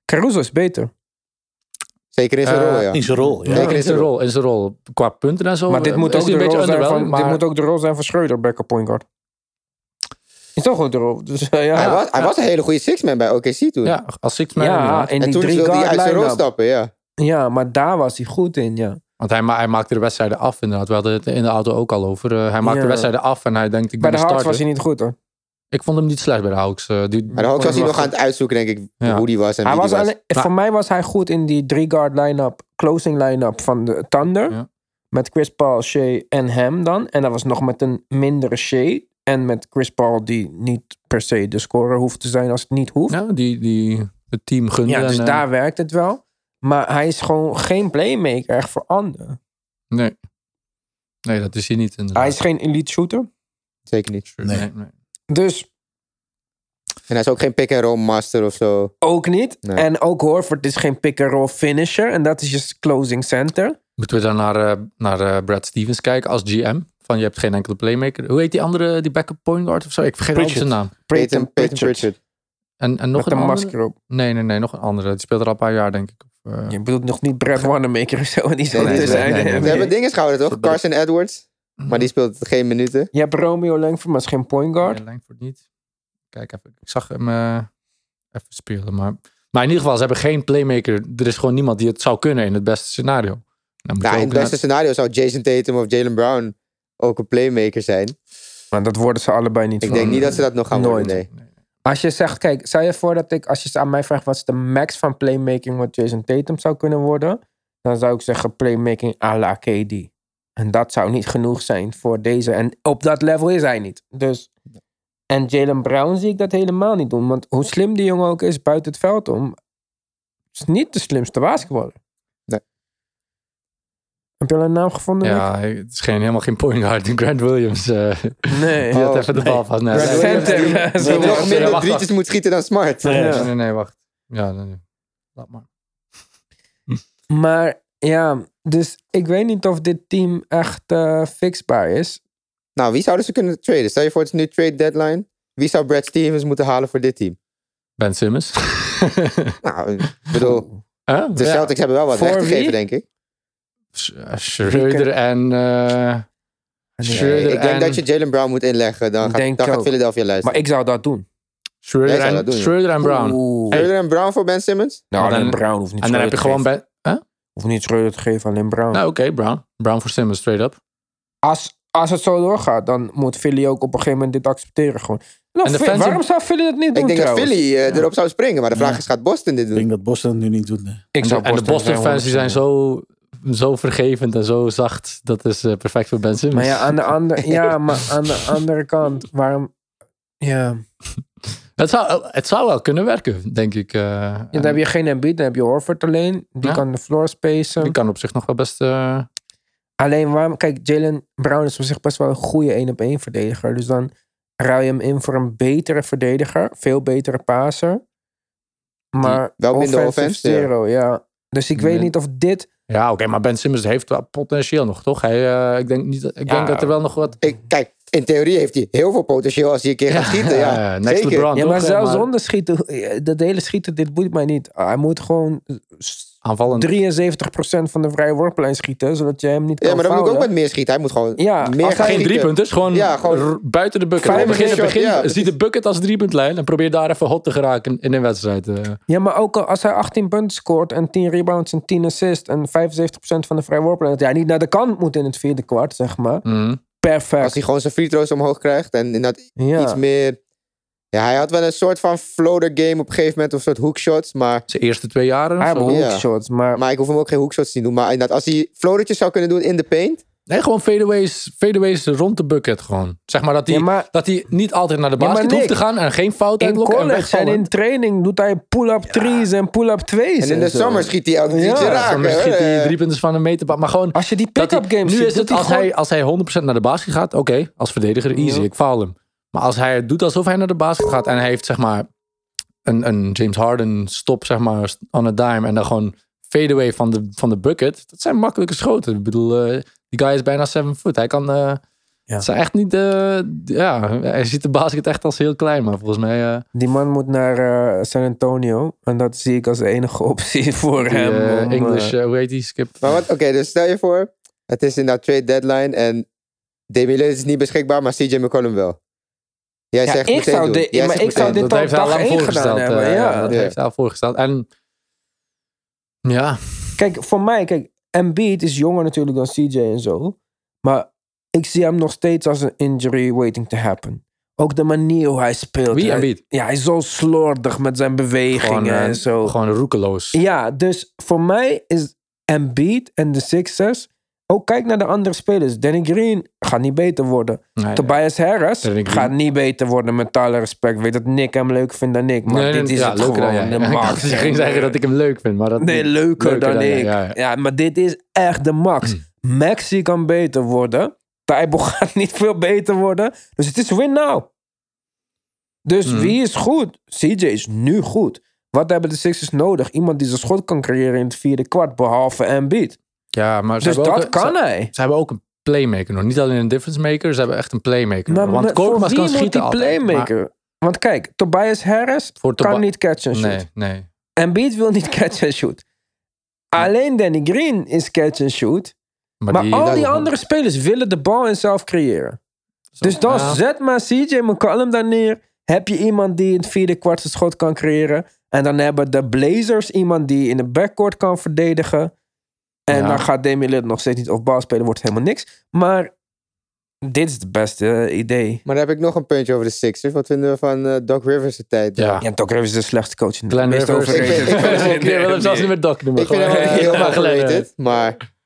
Speaker 1: Caruso is beter.
Speaker 3: Oh,
Speaker 4: Zeker in zijn
Speaker 3: Eh,
Speaker 4: rol, ja.
Speaker 5: In zijn rol, ja.
Speaker 1: Ja.
Speaker 3: Zeker in zijn rol, in zijn rol. Qua punten en zo.
Speaker 1: maar dit
Speaker 3: eh,
Speaker 1: moet,
Speaker 3: is
Speaker 1: ook
Speaker 3: hij
Speaker 1: de rol zijn
Speaker 3: underwhelming,
Speaker 1: van, dit moet ook de rol zijn van Schreuder, backup point guard. Is toch ook de rol. Dus, eh, ja.
Speaker 4: Hij, was, hij
Speaker 3: ja.
Speaker 4: was een hele goede six-man bij OKC toen.
Speaker 3: Ja, als six man
Speaker 1: ja,
Speaker 3: inderdaad.
Speaker 1: in
Speaker 4: en
Speaker 1: die
Speaker 4: toen
Speaker 1: drie
Speaker 4: wilde hij
Speaker 1: guard
Speaker 4: uit zijn rol
Speaker 1: line-up.
Speaker 4: stappen, ja.
Speaker 1: Ja, maar daar was hij goed in, ja.
Speaker 3: Want hij, ma- hij maakte de wedstrijden af inderdaad. We hadden het in de auto ook al over. Eh, hij maakt
Speaker 1: Ja.
Speaker 3: de wedstrijden af en hij denkt ik
Speaker 1: Bij
Speaker 3: ben
Speaker 1: de
Speaker 3: een
Speaker 1: Hawks was
Speaker 3: starter.
Speaker 1: hij niet goed, hoor.
Speaker 3: Ik vond hem niet slecht bij de Hawks. eh, die,
Speaker 4: Maar de Hawks was hij
Speaker 1: Hij was
Speaker 4: nog aan het uitzoeken, denk ik,
Speaker 3: Ja.
Speaker 4: hoe die was en
Speaker 1: Hij
Speaker 4: wie
Speaker 1: was
Speaker 4: die was.
Speaker 1: alleen, voor mij was hij goed in die drie guard line-up, closing line-up van de Thunder.
Speaker 3: Ja.
Speaker 1: Met Chris Paul, Shea en hem dan. En dat was nog met een mindere Shea. En met Chris Paul, die niet per se de scorer hoeft te zijn als het niet hoeft.
Speaker 3: ja, die, die het team gunde.
Speaker 1: Ja,
Speaker 3: en,
Speaker 1: dus
Speaker 3: eh,
Speaker 1: daar werkt het wel. Maar hij is gewoon geen playmaker echt voor anderen.
Speaker 3: nee. nee, dat is hij niet inderdaad.
Speaker 1: Hij is geen elite shooter.
Speaker 4: Zeker niet.
Speaker 3: Sure,
Speaker 5: Nee.
Speaker 3: nee, nee.
Speaker 1: Dus
Speaker 4: En hij is ook geen pick-and-roll master of zo.
Speaker 1: ook niet.
Speaker 4: Nee.
Speaker 1: En ook Horford is geen pick-and-roll finisher. En dat is je closing center.
Speaker 3: Moeten we dan naar, eh, naar eh, Brad Stevens kijken als GM? Van je hebt geen enkele playmaker. Hoe heet die andere, die backup point guard of zo? Ik vergeet altijd zijn
Speaker 5: Pritchard.
Speaker 3: naam.
Speaker 4: Peyton, Peyton Pritchard.
Speaker 3: En, en nog
Speaker 1: Met een
Speaker 3: een andere?
Speaker 1: masker op.
Speaker 3: Nee, nee, nee, nog een andere. Die speelt er al een paar jaar, denk ik. Of, eh,
Speaker 1: Je bedoelt nog niet Brad Wanamaker of zo. En die zo
Speaker 4: Nee, nee,
Speaker 1: te
Speaker 4: nee,
Speaker 1: zijn.
Speaker 3: nee, nee.
Speaker 4: Ze hebben dingen gehouden, toch? Carson Edwards. Maar die speelt geen minuten.
Speaker 1: Je hebt Romeo Langford, maar is geen point guard.
Speaker 3: Nee, Langford niet. Kijk even. Ik zag hem eh, even spelen. Maar, maar in ieder geval, ze hebben geen playmaker. Er is gewoon niemand die het zou kunnen in het beste scenario. Dan moet
Speaker 4: Nou,
Speaker 3: je
Speaker 4: in
Speaker 3: ook
Speaker 4: het beste scenario zou Jason Tatum of Jalen Brown ook een playmaker zijn.
Speaker 1: Maar dat worden ze allebei niet.
Speaker 4: Ik
Speaker 1: van.
Speaker 4: denk niet dat ze dat nog gaan
Speaker 1: Nooit.
Speaker 4: worden, nee.
Speaker 3: naar- Nee.
Speaker 1: Als je zegt, kijk, stel je voor dat ik, als je aan mij vraagt wat is de max van playmaking wat Jason Tatum zou kunnen worden, dan zou ik zeggen playmaking à la KD. En dat zou niet genoeg zijn voor deze. En op dat level is hij niet. Dus, en Jalen Brown zie ik dat helemaal niet doen. Want hoe slim die jongen ook is buiten het veld om, is niet de slimste basketballer.
Speaker 4: Nee.
Speaker 1: Heb je al een naam gevonden? Nick?
Speaker 3: Ja, het is geen, helemaal geen point guard. [laughs] Grant Williams. eh,
Speaker 1: Nee.
Speaker 3: die had
Speaker 4: Oh,
Speaker 3: even de
Speaker 5: nee.
Speaker 3: bal vast. Nee,
Speaker 1: Grant
Speaker 3: nee,
Speaker 1: Williams.
Speaker 3: nee,
Speaker 1: Center.
Speaker 5: Nee,
Speaker 4: Die
Speaker 5: nee,
Speaker 4: nog
Speaker 3: wacht,
Speaker 4: minder
Speaker 3: wacht, wacht.
Speaker 4: drietjes moet schieten dan Smart.
Speaker 5: Nee.
Speaker 3: nee, nee, nee, wacht. Ja, nee, nee. Laat maar.
Speaker 1: Maar ja, Dus ik weet niet of dit team echt eh, fixbaar is.
Speaker 4: Nou, wie zouden ze kunnen traden? Stel je voor, het is nu trade deadline. Wie zou Brad Stevens moeten halen voor dit team?
Speaker 3: Ben Simmons.
Speaker 4: Nou, ik bedoel,
Speaker 3: Huh?
Speaker 4: de
Speaker 3: Ja.
Speaker 4: Celtics hebben wel wat
Speaker 1: Voor
Speaker 4: weggegeven,
Speaker 1: wie?
Speaker 4: denk ik.
Speaker 3: Sch- eh, Schreuder en... eh,
Speaker 4: Nee,
Speaker 3: Schreuder
Speaker 4: ik denk
Speaker 3: en-
Speaker 4: dat je Jalen Brown moet inleggen. Dan gaat,
Speaker 1: Denk
Speaker 4: dan
Speaker 1: ik
Speaker 4: gaat
Speaker 1: ook.
Speaker 4: Philadelphia
Speaker 1: Maar
Speaker 4: luisteren.
Speaker 1: ik zou dat doen.
Speaker 3: Schreuder
Speaker 4: Jij zou dat
Speaker 3: en,
Speaker 4: doen, ja.
Speaker 3: Schreuder en Brown.
Speaker 1: Oeh.
Speaker 4: Schreuder en Brown voor Ben Simmons?
Speaker 1: Nou,
Speaker 3: Maar
Speaker 1: alleen
Speaker 3: dan-
Speaker 1: Brown hoeft niet
Speaker 3: En dan heb je gewoon... Ben,
Speaker 1: Of niet Schreuder te geven, alleen Brown.
Speaker 3: nou, oké, Brown. Brown voor Simmons, straight up.
Speaker 1: Als, als het zo doorgaat, dan moet Philly ook op een gegeven moment dit accepteren gewoon. Nou,
Speaker 3: En de
Speaker 1: Phil-
Speaker 3: fans-
Speaker 1: waarom zou Philly dat niet doen
Speaker 4: Ik denk dat
Speaker 1: trouwens?
Speaker 4: Philly eh, erop zou springen. Maar de vraag
Speaker 5: Ja.
Speaker 4: is, gaat Boston dit
Speaker 5: Ik
Speaker 4: doen?
Speaker 5: denk dat Boston het nu niet doet. eh. nee.
Speaker 1: Ik zou
Speaker 3: en de Boston fans die zijn
Speaker 1: 100%
Speaker 3: zo, zo vergevend en zo zacht. Dat is eh, perfect voor Ben Simmons.
Speaker 1: Maar ja, aan de,
Speaker 3: [laughs]
Speaker 1: ander, ja, maar aan de andere kant, waarom... Ja,
Speaker 3: het, zou, het zou wel kunnen werken, denk ik. eh.
Speaker 1: Ja, dan heb je geen Embiid, dan heb je Horford alleen. Die
Speaker 3: Ja.
Speaker 1: kan de floor spacen.
Speaker 3: Die kan op zich nog wel best... eh,
Speaker 1: Alleen waarom... Kijk, Jalen Brown is op zich best wel een goede 1 op 1 verdediger. Dus dan ruil je hem in voor een betere verdediger. Veel betere passer. Maar
Speaker 4: wel minder
Speaker 1: offensive
Speaker 4: offense,
Speaker 1: zero, ja. Dus ik weet
Speaker 3: Min-
Speaker 1: niet of dit...
Speaker 3: Ja, oké, maar Ben Simmons heeft wel potentieel nog, toch? Hij, eh, ik denk, niet, dat- ik
Speaker 1: Ja.
Speaker 3: denk dat er wel nog wat...
Speaker 4: Ik, kijk, in theorie heeft hij heel veel potentieel als hij een keer gaat schieten.
Speaker 3: [laughs]
Speaker 4: Ja,
Speaker 3: eh, next
Speaker 4: zeker.
Speaker 3: LeBron,
Speaker 1: Ja,
Speaker 3: toch?
Speaker 1: maar
Speaker 3: Eh,
Speaker 1: zelfs zonder schieten... [laughs] Dat hele schieten, dit boeit mij niet. Ah, Hij moet gewoon... s-
Speaker 3: Aanvallend.
Speaker 1: 73% van de vrije worplijn schieten, zodat je hem niet kan
Speaker 4: Ja, maar dan moet ik ook
Speaker 1: fouten.
Speaker 4: met meer schieten. Hij moet gewoon
Speaker 1: Ja,
Speaker 4: meer
Speaker 1: als
Speaker 4: gaan
Speaker 1: hij
Speaker 3: Geen
Speaker 4: schieten.
Speaker 3: driepunt, dus gewoon,
Speaker 4: Ja, gewoon
Speaker 3: r- buiten de bucket.
Speaker 1: vijf
Speaker 3: Begin, begin,
Speaker 4: minuten shot, ja,
Speaker 3: zie de bucket als driepuntlijn en probeer daar even hot te geraken in een wedstrijd. eh.
Speaker 1: Ja, maar ook al- als hij 18 punten scoort en 10 rebounds en 10 assists en 75% van de vrije worpen, dat hij niet naar de kant moet in het vierde kwart, zeg maar.
Speaker 3: Mhm.
Speaker 1: Perfect.
Speaker 4: Als hij gewoon zijn free throws omhoog krijgt en inderdaad
Speaker 1: ja.
Speaker 4: iets meer... Ja, hij had wel een soort van floater game op een gegeven moment. Of een soort hoekshots. Maar,
Speaker 3: Zijn eerste twee jaren.
Speaker 1: Hij
Speaker 3: of
Speaker 1: heeft
Speaker 3: zo.
Speaker 4: behoeft- Ja.
Speaker 1: hoekshots, maar,
Speaker 4: maar ik hoef hem ook geen hoekshots te doen. Maar inderdaad, als hij floatertjes zou kunnen doen in de paint...
Speaker 3: Nee, gewoon fadeaways, fadeaways rond de bucket gewoon. Zeg maar dat hij,
Speaker 1: Ja, maar-
Speaker 3: dat hij niet altijd naar de
Speaker 1: Ja, maar
Speaker 3: basket hoeft te
Speaker 1: Nick,
Speaker 3: gaan en geen fout
Speaker 1: in
Speaker 3: uitlokken en
Speaker 1: college en
Speaker 3: wegvallen.
Speaker 1: in training doet hij pull-up threes en pull-up twees.
Speaker 4: En in de
Speaker 1: zo.
Speaker 4: zomer schiet hij elke
Speaker 1: Ja,
Speaker 4: drietje
Speaker 1: in de
Speaker 3: Dan
Speaker 4: raken.
Speaker 3: schiet
Speaker 4: hoor.
Speaker 3: hij
Speaker 4: Eh,
Speaker 3: drie punten van een meter. Als je
Speaker 1: Als je die pick-up
Speaker 3: Dat hij-
Speaker 1: games
Speaker 3: Nu
Speaker 1: ziet,
Speaker 3: is het
Speaker 1: doet hij
Speaker 3: als
Speaker 1: gewoon-
Speaker 3: hij, als hij 100% naar de basket gaat, oké, als verdediger easy,
Speaker 1: Ja.
Speaker 3: ik faal hem. Maar als hij doet alsof hij naar de basket gaat en hij heeft zeg maar een, een James Harden stop zeg maar on a dime en dan gewoon fadeaway van de, van de bucket, dat zijn makkelijke schoten. Ik bedoel, eh, die guy is bijna 7 foot. Hij kan, eh
Speaker 1: Ja.
Speaker 3: het zijn echt niet, eh, ja, hij ziet de basket echt als heel klein, maar volgens mij eh,
Speaker 1: Die man moet naar eh, San Antonio en dat zie ik als de enige [laughs] optie voor
Speaker 3: die,
Speaker 1: hem.
Speaker 3: eh,
Speaker 1: om, eh,
Speaker 3: English, eh, hoe heet die, Skip?
Speaker 4: Maar wat, oké, dus stel je voor, het is inderdaad trade deadline en Damian Lillard is niet beschikbaar, maar CJ McCollum wel. Jij
Speaker 1: Ja,
Speaker 4: zegt
Speaker 1: ik
Speaker 4: meteen
Speaker 1: zou
Speaker 4: doen.
Speaker 1: de-
Speaker 4: Jij
Speaker 1: maar
Speaker 4: zegt
Speaker 1: ik zou
Speaker 4: meteen
Speaker 1: dit
Speaker 4: doen.
Speaker 1: al
Speaker 3: heeft hij
Speaker 1: dag
Speaker 3: al lang
Speaker 1: één gedaan
Speaker 3: voorgesteld. eh,
Speaker 1: hebben, ja.
Speaker 3: dat
Speaker 4: Ja.
Speaker 3: heeft hij al voorgesteld. En ja,
Speaker 1: Kijk, voor mij, kijk, Embiid is jonger natuurlijk dan CJ en zo. Maar ik zie hem nog steeds als een injury waiting to happen. Ook de manier hoe hij speelt.
Speaker 3: wie
Speaker 1: Hij-
Speaker 3: en wie?
Speaker 1: Ja, hij is zo slordig met zijn bewegingen
Speaker 3: Gewoon, eh,
Speaker 1: en zo.
Speaker 3: Gewoon roekeloos.
Speaker 1: Ja, dus voor mij is Embiid en de Sixers... Ook kijk naar de andere spelers. Danny Green gaat niet beter worden.
Speaker 3: Nee,
Speaker 1: Tobias Harris
Speaker 3: Danny Green.
Speaker 1: gaat niet beter worden met alle respect. Ik weet dat Nick hem leuk vindt dan ik. Maar
Speaker 3: Nee, nee,
Speaker 1: dit is
Speaker 3: ja,
Speaker 1: het
Speaker 3: leuker
Speaker 1: gewoon.
Speaker 3: dan jij.
Speaker 1: de
Speaker 3: [laughs] Ik
Speaker 1: max.
Speaker 3: dacht, je ging zeggen dat ik hem leuk vind, maar dat
Speaker 1: Nee, leuker, dan, ik.
Speaker 3: jij,
Speaker 1: Ja,
Speaker 3: ja, Mm. ja.
Speaker 1: maar dit is echt de max. Maxi kan beter worden. Taibo [laughs] gaat niet veel beter worden. Dus het is win now. Dus
Speaker 3: Mhm.
Speaker 1: wie is goed? CJ is nu goed. Wat hebben de Sixers nodig? Iemand die zijn schot kan creëren in het vierde kwart, behalve Embiid.
Speaker 3: Ja, maar ze
Speaker 1: Dus
Speaker 3: hebben ook
Speaker 1: dat
Speaker 3: een-
Speaker 1: kan
Speaker 3: Ze,
Speaker 1: hij.
Speaker 3: ze hebben ook een playmaker nog. Niet alleen een difference maker, ze hebben echt een playmaker.
Speaker 1: Maar
Speaker 3: Want
Speaker 1: met- voor
Speaker 3: Korkmaz
Speaker 1: wie
Speaker 3: kan
Speaker 1: moet
Speaker 3: schieten
Speaker 1: die
Speaker 3: altijd, maar
Speaker 1: playmaker? Want kijk, Tobias Harris
Speaker 3: voor Toba-
Speaker 1: kan niet catch and shoot.
Speaker 3: Nee, nee.
Speaker 1: Embiid wil niet [laughs] catch and shoot. Alleen Danny Green is catch and shoot.
Speaker 3: Maar,
Speaker 1: Maar
Speaker 3: die,
Speaker 1: al die
Speaker 3: dat-
Speaker 1: andere spelers willen de bal en zelf creëren.
Speaker 3: zo-
Speaker 1: Dus dan
Speaker 3: ja.
Speaker 1: zet maar CJ McCollum daar neer. Heb je iemand die in het vierde kwart zijn schot kan creëren. En dan hebben de Blazers iemand die in de backcourt kan verdedigen. En
Speaker 3: Ja.
Speaker 1: dan gaat Damian Lillard nog steeds niet op bal spelen. Wordt helemaal niks. Maar dit is het beste eh, idee.
Speaker 4: Maar dan heb ik nog een puntje over de Sixers. Wat vinden we van eh, Doc Rivers' tijd? daar?
Speaker 3: Ja.
Speaker 1: Ja, Doc Rivers is de slechtste coach in de
Speaker 3: Glenn
Speaker 1: meest
Speaker 3: Rivers. [laughs] Ik
Speaker 1: overrated
Speaker 4: vind- ik vind-
Speaker 1: coach in
Speaker 3: Ik
Speaker 1: de
Speaker 3: wil hem zelfs
Speaker 1: NBA.
Speaker 3: niet meer Doc noemen.
Speaker 4: Ik vind hem
Speaker 3: Gewoon-
Speaker 4: wel
Speaker 3: [laughs] Ja,
Speaker 4: heel
Speaker 3: Glenn
Speaker 4: overrated,
Speaker 3: Rivers.
Speaker 4: maar...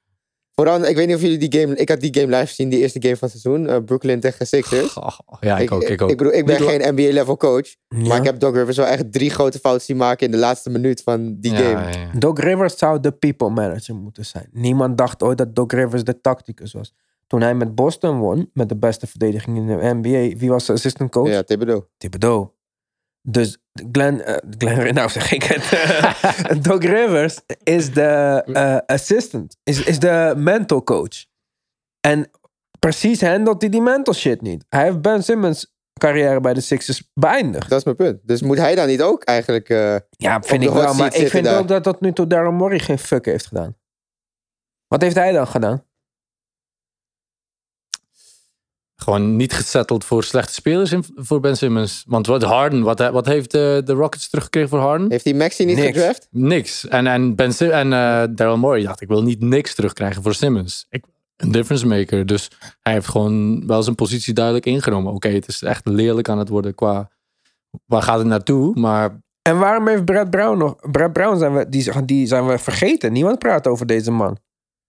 Speaker 4: Vooral, ik weet niet of jullie die game... Ik had die game live gezien, die eerste game van het seizoen. eh, Brooklyn tegen Sixers.
Speaker 3: Goh, Ja, ik ook, ik ook.
Speaker 4: Ik, bedoel, ik ben geen NBA-level coach. Maar
Speaker 1: Ja.
Speaker 4: ik heb Doc Rivers wel echt drie grote fouten zien maken in de laatste minuut van die
Speaker 3: Ja,
Speaker 4: game.
Speaker 3: ja, ja.
Speaker 1: Doc Rivers zou de people manager moeten zijn. Niemand dacht ooit dat Doc Rivers de tacticus was. Toen hij met Boston won, met de beste verdediging in de NBA, wie was de assistant coach?
Speaker 4: Ja, Thibodeau.
Speaker 1: Thibodeau. Dus Glenn, eh, Glenn Ri- nou zeg ik het. [laughs] Doc Rivers is de eh, assistant, is, is de mental coach. En precies handelt hij die mental shit niet. Hij heeft Ben Simmons carrière bij de Sixers beëindigd.
Speaker 4: Dat is mijn punt. Dus moet hij dan niet ook eigenlijk... eh,
Speaker 1: Ja, vind
Speaker 4: de
Speaker 1: ik
Speaker 4: hot
Speaker 1: wel.
Speaker 4: seat
Speaker 1: Maar ik
Speaker 4: zitten
Speaker 1: vind
Speaker 4: daar.
Speaker 1: ook dat tot nu toe Daryl Morey geen fuck heeft gedaan. Wat heeft hij dan gedaan?
Speaker 3: Gewoon niet gezetteld voor slechte spelers in, voor Ben Simmons. Want wat Harden, wat, he- wat heeft de, de Rockets teruggekregen voor Harden?
Speaker 4: heeft hij Maxi niet
Speaker 1: Niks.
Speaker 4: gedraft?
Speaker 3: Niks. En, en, ben Sim- en eh, Daryl Morey dacht, ik wil niet niks terugkrijgen voor Simmons. Ik, een difference maker. Dus hij heeft gewoon wel zijn positie duidelijk ingenomen. Oké, het is echt lelijk aan het worden qua... Waar gaat het naartoe? Maar
Speaker 1: En waarom heeft Brad Brown nog... Brad Brown zijn we, die, die zijn we vergeten. Niemand praat over deze man.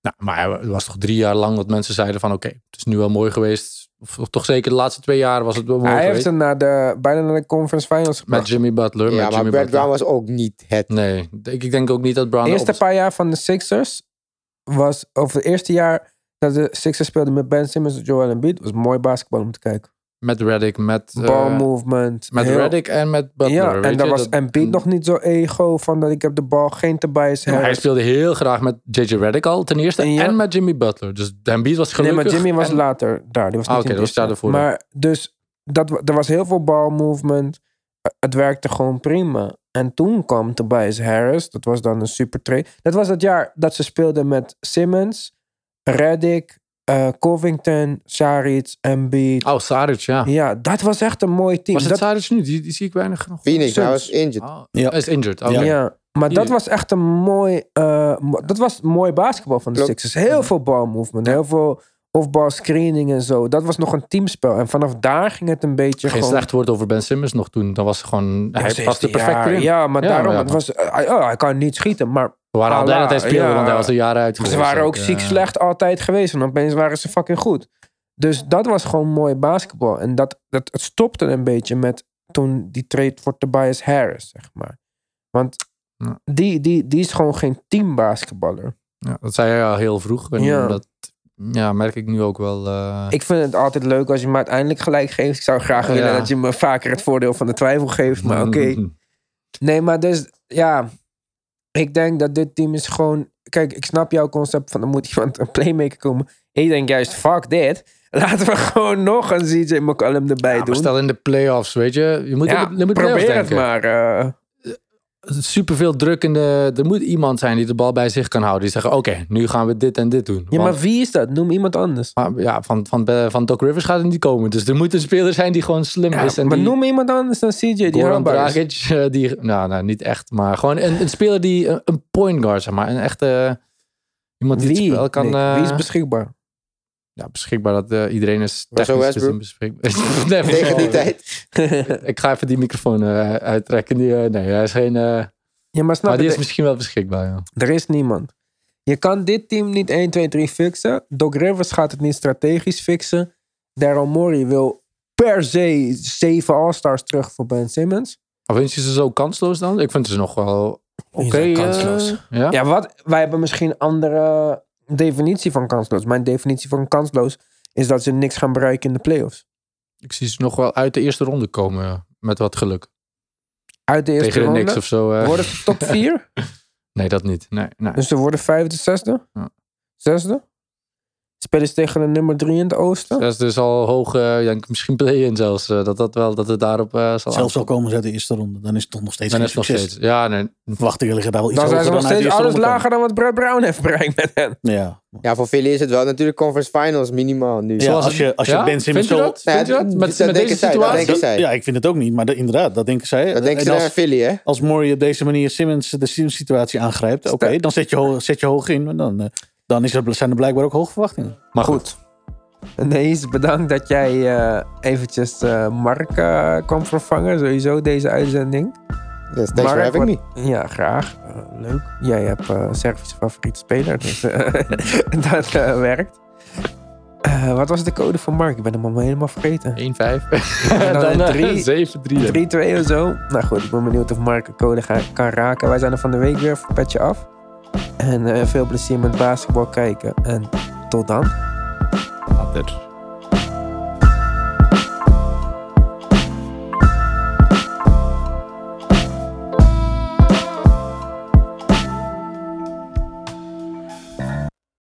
Speaker 3: Nou, maar het was toch drie jaar lang dat mensen zeiden van... oké, het is nu wel mooi geweest. Of toch zeker de laatste twee jaar was het wel mooi
Speaker 1: hij heeft
Speaker 3: geweest.
Speaker 1: hem naar de, bijna naar de conference finals
Speaker 3: Met
Speaker 1: gebracht.
Speaker 3: Jimmy Butler.
Speaker 4: Ja,
Speaker 3: met
Speaker 4: maar
Speaker 3: Jimmy
Speaker 4: Brad
Speaker 3: Butler.
Speaker 4: Brown was ook niet het.
Speaker 3: Nee, ik, ik denk ook niet dat Brown...
Speaker 1: De
Speaker 3: de
Speaker 1: eerste
Speaker 3: optie-
Speaker 1: paar jaar van de Sixers was... Of het eerste jaar dat de Sixers speelden met Ben Simmons en Joel Embiid... was mooi basketbal om te kijken.
Speaker 3: Met Reddick, met... eh,
Speaker 1: Ball movement.
Speaker 3: met
Speaker 1: heel-
Speaker 3: Reddick en met Butler.
Speaker 1: Ja,
Speaker 3: weet
Speaker 1: en daar
Speaker 3: je,
Speaker 1: was
Speaker 3: [clears throat]
Speaker 1: Embiid nog niet zo ego van dat ik heb de bal, geen Tobias
Speaker 3: Maar hij
Speaker 1: Harris.
Speaker 3: speelde heel graag met J.J. Reddick al, ten eerste.
Speaker 1: En
Speaker 3: En,
Speaker 1: ja.
Speaker 3: met Jimmy Butler. Dus Embiid was gelukkig.
Speaker 1: Nee, maar Jimmy was
Speaker 3: en-
Speaker 1: later daar. Die was
Speaker 3: Ah,
Speaker 1: niet
Speaker 3: oké,
Speaker 1: in
Speaker 3: dat was
Speaker 1: Disney.
Speaker 3: daarvoor.
Speaker 1: Maar dus dat, wa- er was heel veel ball movement. Eh, Het werkte gewoon prima. En toen kwam Tobias Harris. Dat was dan een super trade. Dat was het jaar dat ze speelden met Simmons, Reddick, eh, Covington, Saric, Embiid.
Speaker 3: Oh, Saric, ja.
Speaker 1: Ja, dat was echt een mooi team.
Speaker 3: Was het
Speaker 1: Dat-
Speaker 3: Saric nu? Die, die zie ik weinig genoeg.
Speaker 4: Phoenix, hij
Speaker 1: Suns.
Speaker 4: was injured.
Speaker 3: Oh,
Speaker 5: Ja.
Speaker 3: Hij is injured. oké.
Speaker 1: Ja. maar dat
Speaker 3: Ja.
Speaker 1: was echt een mooi... eh, mo- dat was mooi basketbal van de
Speaker 4: Klopt.
Speaker 1: Sixers. Heel
Speaker 3: Mhm.
Speaker 1: veel balmovement, heel veel off-ball screening en zo. Dat was nog een teamspel. En vanaf daar ging het een beetje
Speaker 3: Geen
Speaker 1: gewoon...
Speaker 3: slecht woord over Ben Simmons nog toen. Dan was het gewoon...
Speaker 1: Ja,
Speaker 3: hij
Speaker 1: 16
Speaker 3: paste perfect
Speaker 1: jaar.
Speaker 3: erin.
Speaker 1: Ja, maar
Speaker 3: Ja,
Speaker 1: daarom,
Speaker 3: maar ja.
Speaker 1: het was, eh, oh, hij kan niet schieten. Maar
Speaker 3: We waren al blij dat hij
Speaker 1: Allah,
Speaker 3: speelde,
Speaker 1: ja.
Speaker 3: want hij was er jaren uit
Speaker 1: ze
Speaker 3: geweest.
Speaker 1: waren ook
Speaker 3: Eh,
Speaker 1: ziek slecht altijd geweest. En opeens waren ze fucking goed. Dus dat was gewoon mooi basketbal. En dat, dat het stopte een beetje met toen die trade voor Tobias Harris, zeg maar. Want
Speaker 3: Ja.
Speaker 1: die, die, die is gewoon geen teambasketballer.
Speaker 3: Ja, dat zei hij al heel vroeg. En
Speaker 1: Ja.
Speaker 3: dat ja, merk ik nu ook wel. eh,
Speaker 1: Ik vind het altijd leuk als je me uiteindelijk gelijk geeft. Ik zou graag willen
Speaker 3: Ja.
Speaker 1: dat je me vaker het voordeel van de twijfel geeft. Maar oké.
Speaker 3: [laughs] mm,
Speaker 1: Nee, maar dus ja. Ik denk dat dit team is gewoon. Kijk, ik snap jouw concept van er moet iemand een playmaker komen. Ik denk juist, fuck dit. [laughs] Laten we gewoon nog een CJ McCollum erbij
Speaker 3: ja, maar
Speaker 1: doen.
Speaker 3: stel in de playoffs, weet je. Je moet,
Speaker 1: ja,
Speaker 3: in de, je moet playoffs
Speaker 1: probeer het
Speaker 3: denken.
Speaker 1: maar. eh.
Speaker 3: Super veel druk in de. Er moet iemand zijn die de bal bij zich kan houden. Die zeggen: Oké, nu gaan we dit en dit doen.
Speaker 1: ja, maar
Speaker 3: Want-
Speaker 1: wie is dat? Noem iemand anders.
Speaker 3: maar ja, van, van, eh, van, Doc Rivers gaat het niet komen. Dus er moet een speler zijn die gewoon slim
Speaker 1: Ja,
Speaker 3: is. En
Speaker 1: maar
Speaker 3: die,
Speaker 1: noem iemand anders dan CJ die
Speaker 3: Goran
Speaker 1: houdbaar is.
Speaker 3: Dragic, eh, die, nou, nou, niet echt, maar gewoon een, een speler die een, een point guard, zeg maar. Een echte, eh, iemand die het
Speaker 1: Wie?
Speaker 3: spel kan...
Speaker 1: Nick?
Speaker 3: eh,
Speaker 1: wie is
Speaker 3: [laughs]
Speaker 1: beschikbaar? [laughs]
Speaker 3: ja, beschikbaar dat eh, iedereen is
Speaker 4: Russell
Speaker 3: technisch gezien
Speaker 4: Westbrook?
Speaker 3: beschikbaar. [laughs] Nee,
Speaker 4: Tegen die
Speaker 3: sorry.
Speaker 4: tijd.
Speaker 3: Ik ga even die microfoon eh, uittrekken. Die, eh, nee, hij is geen... eh,
Speaker 1: ja, maar snap
Speaker 3: maar die
Speaker 1: je,
Speaker 3: is misschien wel beschikbaar, ja.
Speaker 1: Er is niemand. Je kan dit team niet 1, 2, 3 fixen. Doc Rivers gaat het niet strategisch fixen. Daryl Morey wil per se zeven All-Stars terug voor Ben Simmons.
Speaker 3: Of vind je ze zo kansloos dan? Ik vind ze nog wel oké.
Speaker 1: zijn
Speaker 3: eh,
Speaker 1: kansloos.
Speaker 3: ja?
Speaker 1: Ja, wat? Wij hebben misschien een andere definitie van kansloos. Mijn definitie van kansloos is dat ze niks gaan bereiken in de playoffs.
Speaker 3: Ik zie ze nog wel uit de eerste ronde komen, ja, met wat geluk.
Speaker 1: Uit de eerste
Speaker 3: Tegen de
Speaker 1: ronde
Speaker 3: niks of zo. eh.
Speaker 1: worden ze
Speaker 3: [laughs]
Speaker 1: top 4.
Speaker 3: Nee, dat niet. Nee, nee.
Speaker 1: dus ze worden vijfde, zesde.
Speaker 3: Ja.
Speaker 1: Zesde. Spelen ze tegen de nummer drie in het oosten.
Speaker 3: Dat is dus al hoog, eh, denk ik, misschien play-in zelfs. eh, dat, dat, wel, dat het daarop eh, zal
Speaker 5: Zelfs al
Speaker 3: aankomen.
Speaker 5: komen ze uit de eerste ronde, dan is het toch nog steeds
Speaker 3: Dan
Speaker 5: geen
Speaker 3: is het nog
Speaker 5: succes.
Speaker 3: steeds. Ja, nee.
Speaker 5: Verwachtingen liggen daar wel iets
Speaker 1: Dan zijn
Speaker 5: hoger
Speaker 1: ze nog
Speaker 5: dan uit de
Speaker 1: steeds
Speaker 5: eerste
Speaker 1: alles
Speaker 5: ronde
Speaker 1: lager dan wat Brad Brown heeft bereikt met hen.
Speaker 5: komen. Ja.
Speaker 4: Ja, voor Philly is het wel natuurlijk conference finals minimaal nu.
Speaker 5: Ja, als je, als je
Speaker 3: Ja?
Speaker 5: Ben Simmons
Speaker 3: Vind je
Speaker 5: zo...
Speaker 3: dat? Vind je
Speaker 4: Ja,
Speaker 3: dat?
Speaker 4: dat
Speaker 3: Met, met
Speaker 4: denken
Speaker 3: deze
Speaker 4: zij, dat
Speaker 3: situatie?
Speaker 4: denken zij.
Speaker 5: Ja, ik vind het ook niet, maar de- inderdaad, dat denken zij.
Speaker 4: Dat denken
Speaker 5: En
Speaker 4: ze naar
Speaker 5: als,
Speaker 4: Philly, hè?
Speaker 5: als Murray deze manier Simmons de Simmons situatie aangrijpt, oké, dan zet je, hoog, zet je hoog in. maar Dan, eh, dan is er, zijn er blijkbaar ook hoge verwachtingen.
Speaker 3: Maar
Speaker 1: [laughs]
Speaker 3: goed.
Speaker 1: Goed. Nees, bedankt dat jij eh, eventjes eh, Mark eh, kwam vervangen. Sowieso deze uitzending.
Speaker 4: Yes, thanks for
Speaker 1: Mark,
Speaker 4: having me.
Speaker 1: wat- Ja, graag. Eh, leuk. Jij hebt eh Servische favoriete speler, dus eh, [laughs] dat eh, werkt. Eh, wat was de code van Mark? Ik ben hem al helemaal vergeten.
Speaker 3: 1-5.
Speaker 1: En dan een
Speaker 3: eh,
Speaker 1: drie.
Speaker 3: 7-3.
Speaker 1: 3-2 of zo. Nou goed, ik ben benieuwd of Mark een code ga- kan raken. Wij zijn er van de week weer voor Petje Af. En eh, veel plezier met basketbal kijken. En tot dan.
Speaker 3: Later.